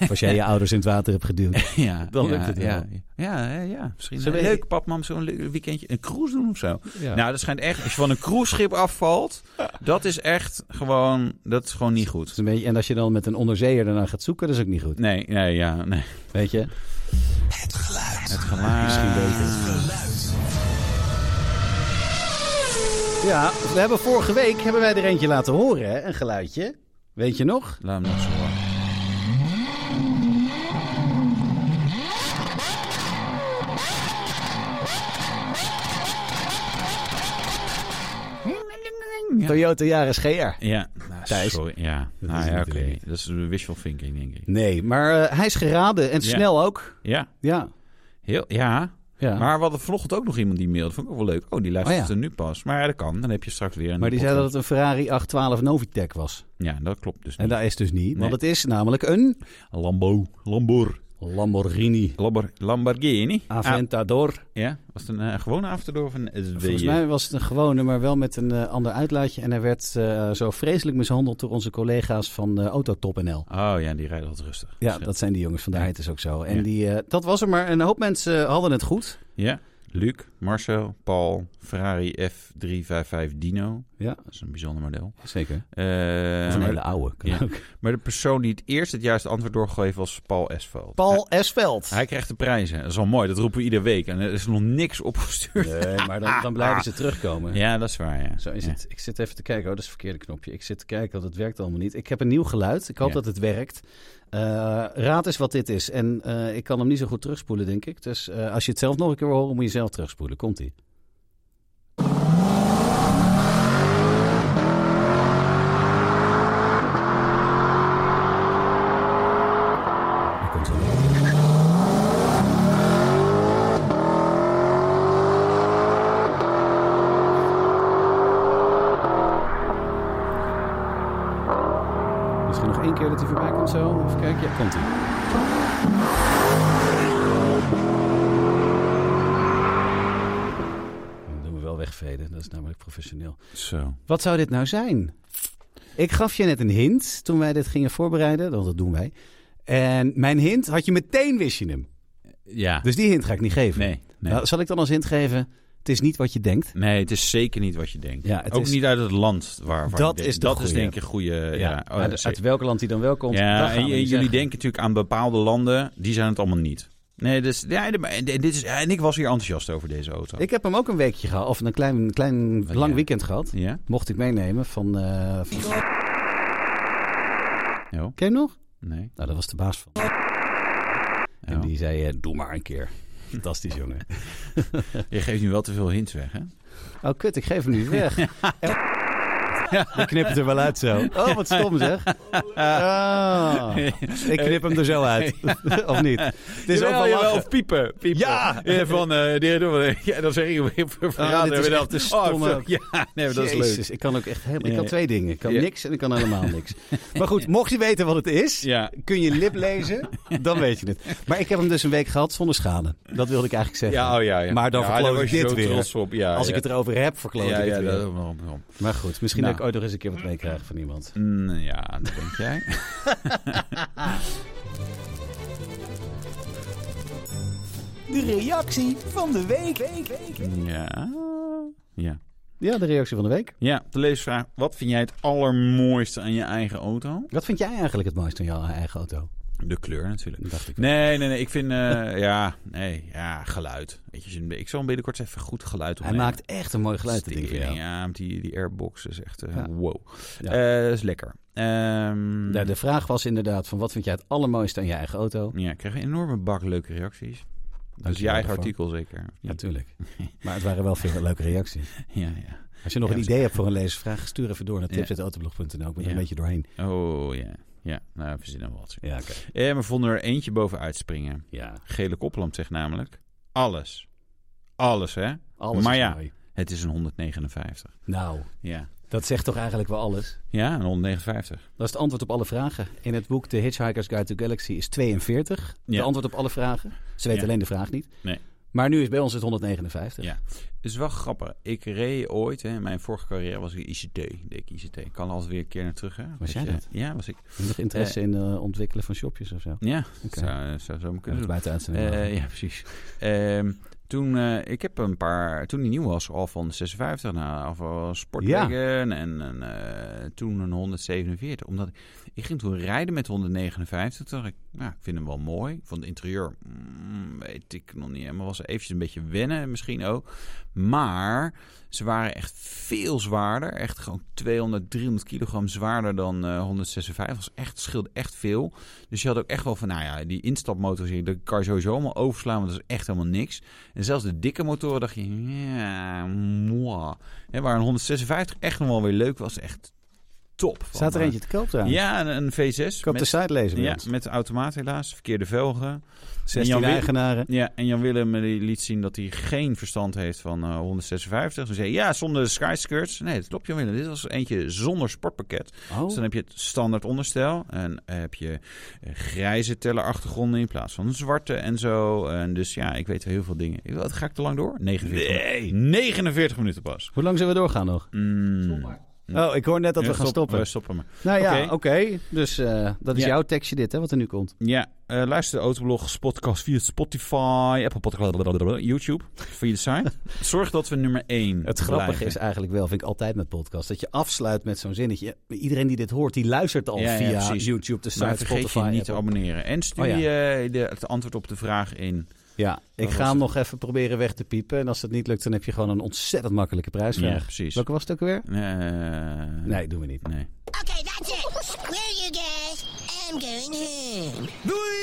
[SPEAKER 2] Of als jij je ouders in het water hebt geduwd.
[SPEAKER 1] Ja,
[SPEAKER 2] Dan
[SPEAKER 1] ja,
[SPEAKER 2] lukt het wel.
[SPEAKER 1] Ja, ja, ja, ja. misschien
[SPEAKER 2] Zullen
[SPEAKER 1] een
[SPEAKER 2] we-
[SPEAKER 1] leuk papmam zo'n leuk weekendje een cruise doen of zo.
[SPEAKER 2] Ja.
[SPEAKER 1] Nou, dat schijnt echt als je van een cruiseschip afvalt, dat is echt gewoon dat is gewoon niet
[SPEAKER 2] Dat
[SPEAKER 1] goed.
[SPEAKER 2] is een beetje- en als je dan met een onderzeeër daarna gaat zoeken, dat is ook niet goed.
[SPEAKER 1] Nee, nee, ja, nee.
[SPEAKER 2] Weet je?
[SPEAKER 1] Het geluid.
[SPEAKER 2] Misschien beter. Ja, we hebben vorige week hebben wij er eentje laten horen, hè? Een geluidje. Weet je nog?
[SPEAKER 1] Laat hem nog zo horen. Ja,
[SPEAKER 2] Toyota Yaris GR.
[SPEAKER 1] Ja, nou,
[SPEAKER 2] Thijs.
[SPEAKER 1] sorry. Ja,
[SPEAKER 2] Dat
[SPEAKER 1] nou,
[SPEAKER 2] is
[SPEAKER 1] ja oké.
[SPEAKER 2] natuurlijk niet.
[SPEAKER 1] Dat is wishful thinking, denk ik.
[SPEAKER 2] Nee, maar eh, hij is geraden en
[SPEAKER 1] Ja.
[SPEAKER 2] snel ook.
[SPEAKER 1] Ja,
[SPEAKER 2] Ja.
[SPEAKER 1] heel, ja.
[SPEAKER 2] ja.
[SPEAKER 1] Maar we hadden vanochtend ook nog iemand die mailde. Vond ik ook wel leuk. Oh, die luistert
[SPEAKER 2] Oh, ja.
[SPEAKER 1] er nu pas. Maar ja, dat kan. Dan heb je straks weer een...
[SPEAKER 2] Maar die zei dat
[SPEAKER 1] podcast.
[SPEAKER 2] het een Ferrari 812 Novitec was.
[SPEAKER 1] Ja, dat klopt dus
[SPEAKER 2] En
[SPEAKER 1] niet.
[SPEAKER 2] dat is dus niet, want
[SPEAKER 1] Nee.
[SPEAKER 2] het is namelijk een
[SPEAKER 1] Lambo. Lambor.
[SPEAKER 2] Lamborghini
[SPEAKER 1] Lambor. Lamborghini. Ah,
[SPEAKER 2] Aventador.
[SPEAKER 1] ja, was het een eh, gewone avontuur of een SW?
[SPEAKER 2] Volgens mij was het een gewone, maar wel met een eh, ander uitlaatje. En hij werd eh, zo vreselijk mishandeld door onze collega's van eh, Autotop NL.
[SPEAKER 1] Oh ja, die rijden altijd rustig.
[SPEAKER 2] Ja, dat zijn die jongens, vandaar het is ook zo. En
[SPEAKER 1] Ja.
[SPEAKER 2] die, eh, dat was er maar. Een hoop mensen eh, hadden het goed.
[SPEAKER 1] Ja. Luc, Marcel, Paul, Ferrari F355 Dino.
[SPEAKER 2] Ja.
[SPEAKER 1] Dat is een bijzonder model.
[SPEAKER 2] Zeker.
[SPEAKER 1] Eh,
[SPEAKER 2] Of een
[SPEAKER 1] maar-
[SPEAKER 2] hele oude. kan
[SPEAKER 1] ja.
[SPEAKER 2] ook.
[SPEAKER 1] Maar de persoon die het eerst het juiste antwoord doorgegeven was Paul Esveld.
[SPEAKER 2] Paul Esveld.
[SPEAKER 1] Hij, hij krijgt de prijzen. Dat is al mooi. Dat roepen we iedere week. En er is nog niks opgestuurd.
[SPEAKER 2] Nee, maar dan, dan blijven ze terugkomen.
[SPEAKER 1] Ja, dat is waar. Ja.
[SPEAKER 2] Zo is
[SPEAKER 1] Ja.
[SPEAKER 2] het. Ik zit even te kijken. Oh, dat is het verkeerde knopje. Ik zit te kijken. Oh, dat werkt allemaal niet. Ik heb een nieuw geluid. Ik hoop
[SPEAKER 1] Ja.
[SPEAKER 2] dat het werkt. Eh, raad eens wat dit is. En eh, ik kan hem niet zo goed terugspoelen, denk ik. Dus eh, als je het zelf nog een keer wil horen, moet je zelf terugspoelen. Komt-ie. Daar komt hij. Misschien nog één keer dat hij voorbij komt zo. Even kijken. Ja, komt hij. Dat doen we wel wegvreden. Dat is namelijk professioneel.
[SPEAKER 1] Zo.
[SPEAKER 2] Wat zou dit nou zijn? Ik gaf je net een hint toen wij dit gingen voorbereiden. Want dat doen wij. En mijn hint had je meteen wist je hem.
[SPEAKER 1] Ja.
[SPEAKER 2] Dus die hint ga ik niet geven.
[SPEAKER 1] Nee. Nee.
[SPEAKER 2] Nou, zal ik dan als hint geven? Het is niet wat je denkt.
[SPEAKER 1] nee, het is zeker niet wat je denkt.
[SPEAKER 2] Ja, het
[SPEAKER 1] Ook
[SPEAKER 2] is-
[SPEAKER 1] niet uit het land waar, waar
[SPEAKER 2] Dat
[SPEAKER 1] je denkt-
[SPEAKER 2] is de
[SPEAKER 1] Dat is
[SPEAKER 2] goeie.
[SPEAKER 1] denk ik een goede... Ja, Oh,
[SPEAKER 2] uit,
[SPEAKER 1] zeker.
[SPEAKER 2] uit welk land die dan wel komt. dat
[SPEAKER 1] Ja, en
[SPEAKER 2] gaan we
[SPEAKER 1] j-
[SPEAKER 2] niet
[SPEAKER 1] jullie
[SPEAKER 2] zeggen.
[SPEAKER 1] denken natuurlijk aan bepaalde landen, die zijn het allemaal niet. Nee, dus, ja, en- en dit is, en ik was hier enthousiast over deze auto.
[SPEAKER 2] Ik heb hem ook een weekje gehad, of een klein, een klein
[SPEAKER 1] Wat,
[SPEAKER 2] lang
[SPEAKER 1] Oh, ja.
[SPEAKER 2] weekend gehad.
[SPEAKER 1] Ja?
[SPEAKER 2] Mocht ik meenemen van, eh, van-
[SPEAKER 1] Oh,
[SPEAKER 2] Ken je hem nog?
[SPEAKER 1] nee.
[SPEAKER 2] Nou, dat was de baas van. En
[SPEAKER 1] Oh.
[SPEAKER 2] die zei, eh, doe maar een keer. Fantastisch, jongen.
[SPEAKER 1] Je geeft nu wel te veel hints weg, hè?
[SPEAKER 2] Oh, kut, ik geef hem nu weg. Ik knip het er wel uit zo. Oh, wat stom zeg. Ah. ik knip hem er zo uit. of niet? Het is ook wel lachen.
[SPEAKER 1] of piepen. piepen.
[SPEAKER 2] Ja!
[SPEAKER 1] Eh, Van, eh, de- de- ja, dan zeg je weer ver- verraden.
[SPEAKER 2] Oh, dit is
[SPEAKER 1] we dat.
[SPEAKER 2] echt een
[SPEAKER 1] Oh,
[SPEAKER 2] stomme-
[SPEAKER 1] ja, nee, maar dat is leuk.
[SPEAKER 2] Jezus, ik kan ook echt helemaal... Ik kan
[SPEAKER 1] Ja.
[SPEAKER 2] twee dingen. Ik kan
[SPEAKER 1] Ja.
[SPEAKER 2] niks en ik kan helemaal niks. Maar goed, mocht je weten wat het is...
[SPEAKER 1] Ja.
[SPEAKER 2] Kun je lip lezen? Dan weet je het. Maar ik heb hem dus een week gehad zonder schade. Dat wilde ik eigenlijk zeggen.
[SPEAKER 1] Ja, oh ja, ja.
[SPEAKER 2] Maar dan
[SPEAKER 1] ja,
[SPEAKER 2] verkloot
[SPEAKER 1] was
[SPEAKER 2] ik
[SPEAKER 1] je
[SPEAKER 2] dit
[SPEAKER 1] zo
[SPEAKER 2] weer.
[SPEAKER 1] trots op. Ja,
[SPEAKER 2] Als
[SPEAKER 1] ja.
[SPEAKER 2] ik het erover heb, verkloot
[SPEAKER 1] Ja,
[SPEAKER 2] ik het
[SPEAKER 1] ja,
[SPEAKER 2] weer.
[SPEAKER 1] dat... waarom, waarom?
[SPEAKER 2] Maar goed, misschien
[SPEAKER 1] Nou.
[SPEAKER 2] dat ik ooit nog eens een keer wat meekrijg van iemand.
[SPEAKER 1] Mm, ja, dat denk jij.
[SPEAKER 2] De reactie van de week.
[SPEAKER 1] ja. Ja.
[SPEAKER 2] Ja, de reactie van de week.
[SPEAKER 1] Ja, de leesvraag. Wat vind jij het allermooiste aan je eigen auto?
[SPEAKER 2] Wat vind jij eigenlijk het mooiste aan jouw eigen auto?
[SPEAKER 1] De kleur natuurlijk.
[SPEAKER 2] Dat dacht ik.
[SPEAKER 1] Nee, nee, nee. Ik vind, eh, ja, nee, ja, geluid. Weet je, als je een- ik zal hem binnenkort eens even goed geluid
[SPEAKER 2] Hij
[SPEAKER 1] opnemen.
[SPEAKER 2] maakt echt een mooi geluid, dat ding van jou.
[SPEAKER 1] Ja, met die, die airbox is echt, eh,
[SPEAKER 2] Ja.
[SPEAKER 1] wow.
[SPEAKER 2] Ja.
[SPEAKER 1] Eh, dat is lekker. Ehm,
[SPEAKER 2] Nou, de vraag was inderdaad van wat vind jij het allermooiste aan je eigen auto?
[SPEAKER 1] Ja, ik krijg een enorme bak leuke reacties. Dat is je
[SPEAKER 2] Dankjewel
[SPEAKER 1] eigen
[SPEAKER 2] daarvoor.
[SPEAKER 1] artikel zeker. of niet?
[SPEAKER 2] Natuurlijk. Maar het waren wel veel leuke reacties.
[SPEAKER 1] Ja, ja.
[SPEAKER 2] Als je nog
[SPEAKER 1] Ja,
[SPEAKER 2] een
[SPEAKER 1] dus-
[SPEAKER 2] idee hebt voor een lezersvraag, stuur even door naar
[SPEAKER 1] Ja.
[SPEAKER 2] tips.autoblog.nl. Ik ben er
[SPEAKER 1] Ja.
[SPEAKER 2] een beetje doorheen.
[SPEAKER 1] Oh, ja. Ja, nou, verzinnen we wat.
[SPEAKER 2] Ja, oké.
[SPEAKER 1] Eh, we vonden er eentje bovenuit springen.
[SPEAKER 2] Ja,
[SPEAKER 1] Gele koplamp zegt namelijk, alles. Alles, hè?
[SPEAKER 2] alles
[SPEAKER 1] Maar
[SPEAKER 2] is
[SPEAKER 1] ja.
[SPEAKER 2] mooi.
[SPEAKER 1] Het is een 159.
[SPEAKER 2] Nou,
[SPEAKER 1] Ja.
[SPEAKER 2] dat zegt toch eigenlijk wel alles?
[SPEAKER 1] Ja, een 159.
[SPEAKER 2] Dat is het antwoord op alle vragen. In het boek The Hitchhiker's Guide to the Galaxy is 42. De
[SPEAKER 1] Ja.
[SPEAKER 2] antwoord op alle vragen. Ze weten
[SPEAKER 1] Ja.
[SPEAKER 2] alleen de vraag niet.
[SPEAKER 1] Nee.
[SPEAKER 2] Maar nu is bij ons het 159.
[SPEAKER 1] Ja. Het is wel grappig. Ik reed ooit, hè, in mijn vorige carrière was ik ICT. Deed ik ICT. Ik kan er altijd weer een keer naar terug. Hè? Dat
[SPEAKER 2] jij
[SPEAKER 1] je-
[SPEAKER 2] dat?
[SPEAKER 1] Ja, was ik.
[SPEAKER 2] Heb je nog interesse in eh, ontwikkelen van shopjes of zo?
[SPEAKER 1] Ja,
[SPEAKER 2] Oké.
[SPEAKER 1] zou, zou zo maar kunnen
[SPEAKER 2] Kunnen we
[SPEAKER 1] doen.
[SPEAKER 2] buiten uitzending
[SPEAKER 1] Eh,
[SPEAKER 2] maken.
[SPEAKER 1] ja, precies. Ehm, toen, eh, ik heb een paar, toen die nieuw was, al van de 56 naar of al Sportwagen en, en eh, toen een 147. Omdat ik, ik ging toen rijden met 159. Toen dacht ik, nou, ik vind hem wel mooi. Van het interieur mm, weet ik nog niet. Maar was er eventjes een beetje wennen misschien ook. Maar ze waren echt veel zwaarder. Echt gewoon 200, 300 kilogram zwaarder dan eh 156. was echt, scheelde echt veel. Dus je had ook echt wel van, nou ja, die instapmotor, dat kan je sowieso allemaal overslaan, want dat is echt helemaal niks. En En zelfs de dikke motoren dacht je, ja, moi. Hè, waar een 156 echt nog wel weer leuk was, echt top. Van,
[SPEAKER 2] Staat er
[SPEAKER 1] eh,
[SPEAKER 2] eentje te koop daar?
[SPEAKER 1] Ja, een, een V6.
[SPEAKER 2] Ik kan op de site lezen. bij
[SPEAKER 1] ja,
[SPEAKER 2] ons.
[SPEAKER 1] met automaat helaas, verkeerde velgen.
[SPEAKER 2] 16
[SPEAKER 1] Jan Wil-
[SPEAKER 2] eigenaren.
[SPEAKER 1] Ja, en Jan Willem eh, die liet zien dat hij geen verstand heeft van eh, 156. Ze zei, ja, zonder skyskirts. Nee, dat klopt Jan Willem. Dit was eentje zonder sportpakket. Dus dan
[SPEAKER 2] Oh,
[SPEAKER 1] heb je het standaard onderstel. En heb je eh, grijze tellerachtergronden in plaats van zwarte en zo. En dus ja, ik weet heel veel dingen. Ik- Wat ga ik te lang door? 49 minuten. 49 minuten pas.
[SPEAKER 2] hoe lang zullen we doorgaan nog?
[SPEAKER 1] Mm.
[SPEAKER 2] Oh, ik hoor net dat
[SPEAKER 1] Ja,
[SPEAKER 2] we gaan
[SPEAKER 1] stop-
[SPEAKER 2] stoppen.
[SPEAKER 1] we stoppen maar.
[SPEAKER 2] Nou ja, oké.
[SPEAKER 1] Oké.
[SPEAKER 2] Dus eh, dat is
[SPEAKER 1] Ja.
[SPEAKER 2] jouw tekstje dit, hè, wat er nu komt.
[SPEAKER 1] Ja, eh, luister de Autoblog podcast via Spotify, Apple Podcast, blablabla, YouTube, via de site. Zorg dat we nummer 1
[SPEAKER 2] Het grappige is eigenlijk wel, vind ik altijd met podcasts, dat je afsluit met zo'n zinnetje. Iedereen die dit hoort, die luistert al
[SPEAKER 1] Ja, ja,
[SPEAKER 2] via
[SPEAKER 1] precies.
[SPEAKER 2] YouTube, de
[SPEAKER 1] Maar
[SPEAKER 2] site,
[SPEAKER 1] vergeet
[SPEAKER 2] Spotify.
[SPEAKER 1] je niet te
[SPEAKER 2] Apple.
[SPEAKER 1] abonneren. En stuur
[SPEAKER 2] Oh,
[SPEAKER 1] eh, de, het antwoord op de vraag in.
[SPEAKER 2] Ja, ik
[SPEAKER 1] was
[SPEAKER 2] ga hem
[SPEAKER 1] het.
[SPEAKER 2] nog even proberen weg te piepen. En als dat niet lukt, dan heb je gewoon een ontzettend makkelijke
[SPEAKER 1] Ja,
[SPEAKER 2] prijsvraag.
[SPEAKER 1] precies.
[SPEAKER 2] Welke was het ook weer?
[SPEAKER 1] Eh,
[SPEAKER 2] Nee, doen we niet.
[SPEAKER 1] Nee.
[SPEAKER 4] Okay, that's it. Screw you guys. I'm going home.
[SPEAKER 1] Doei!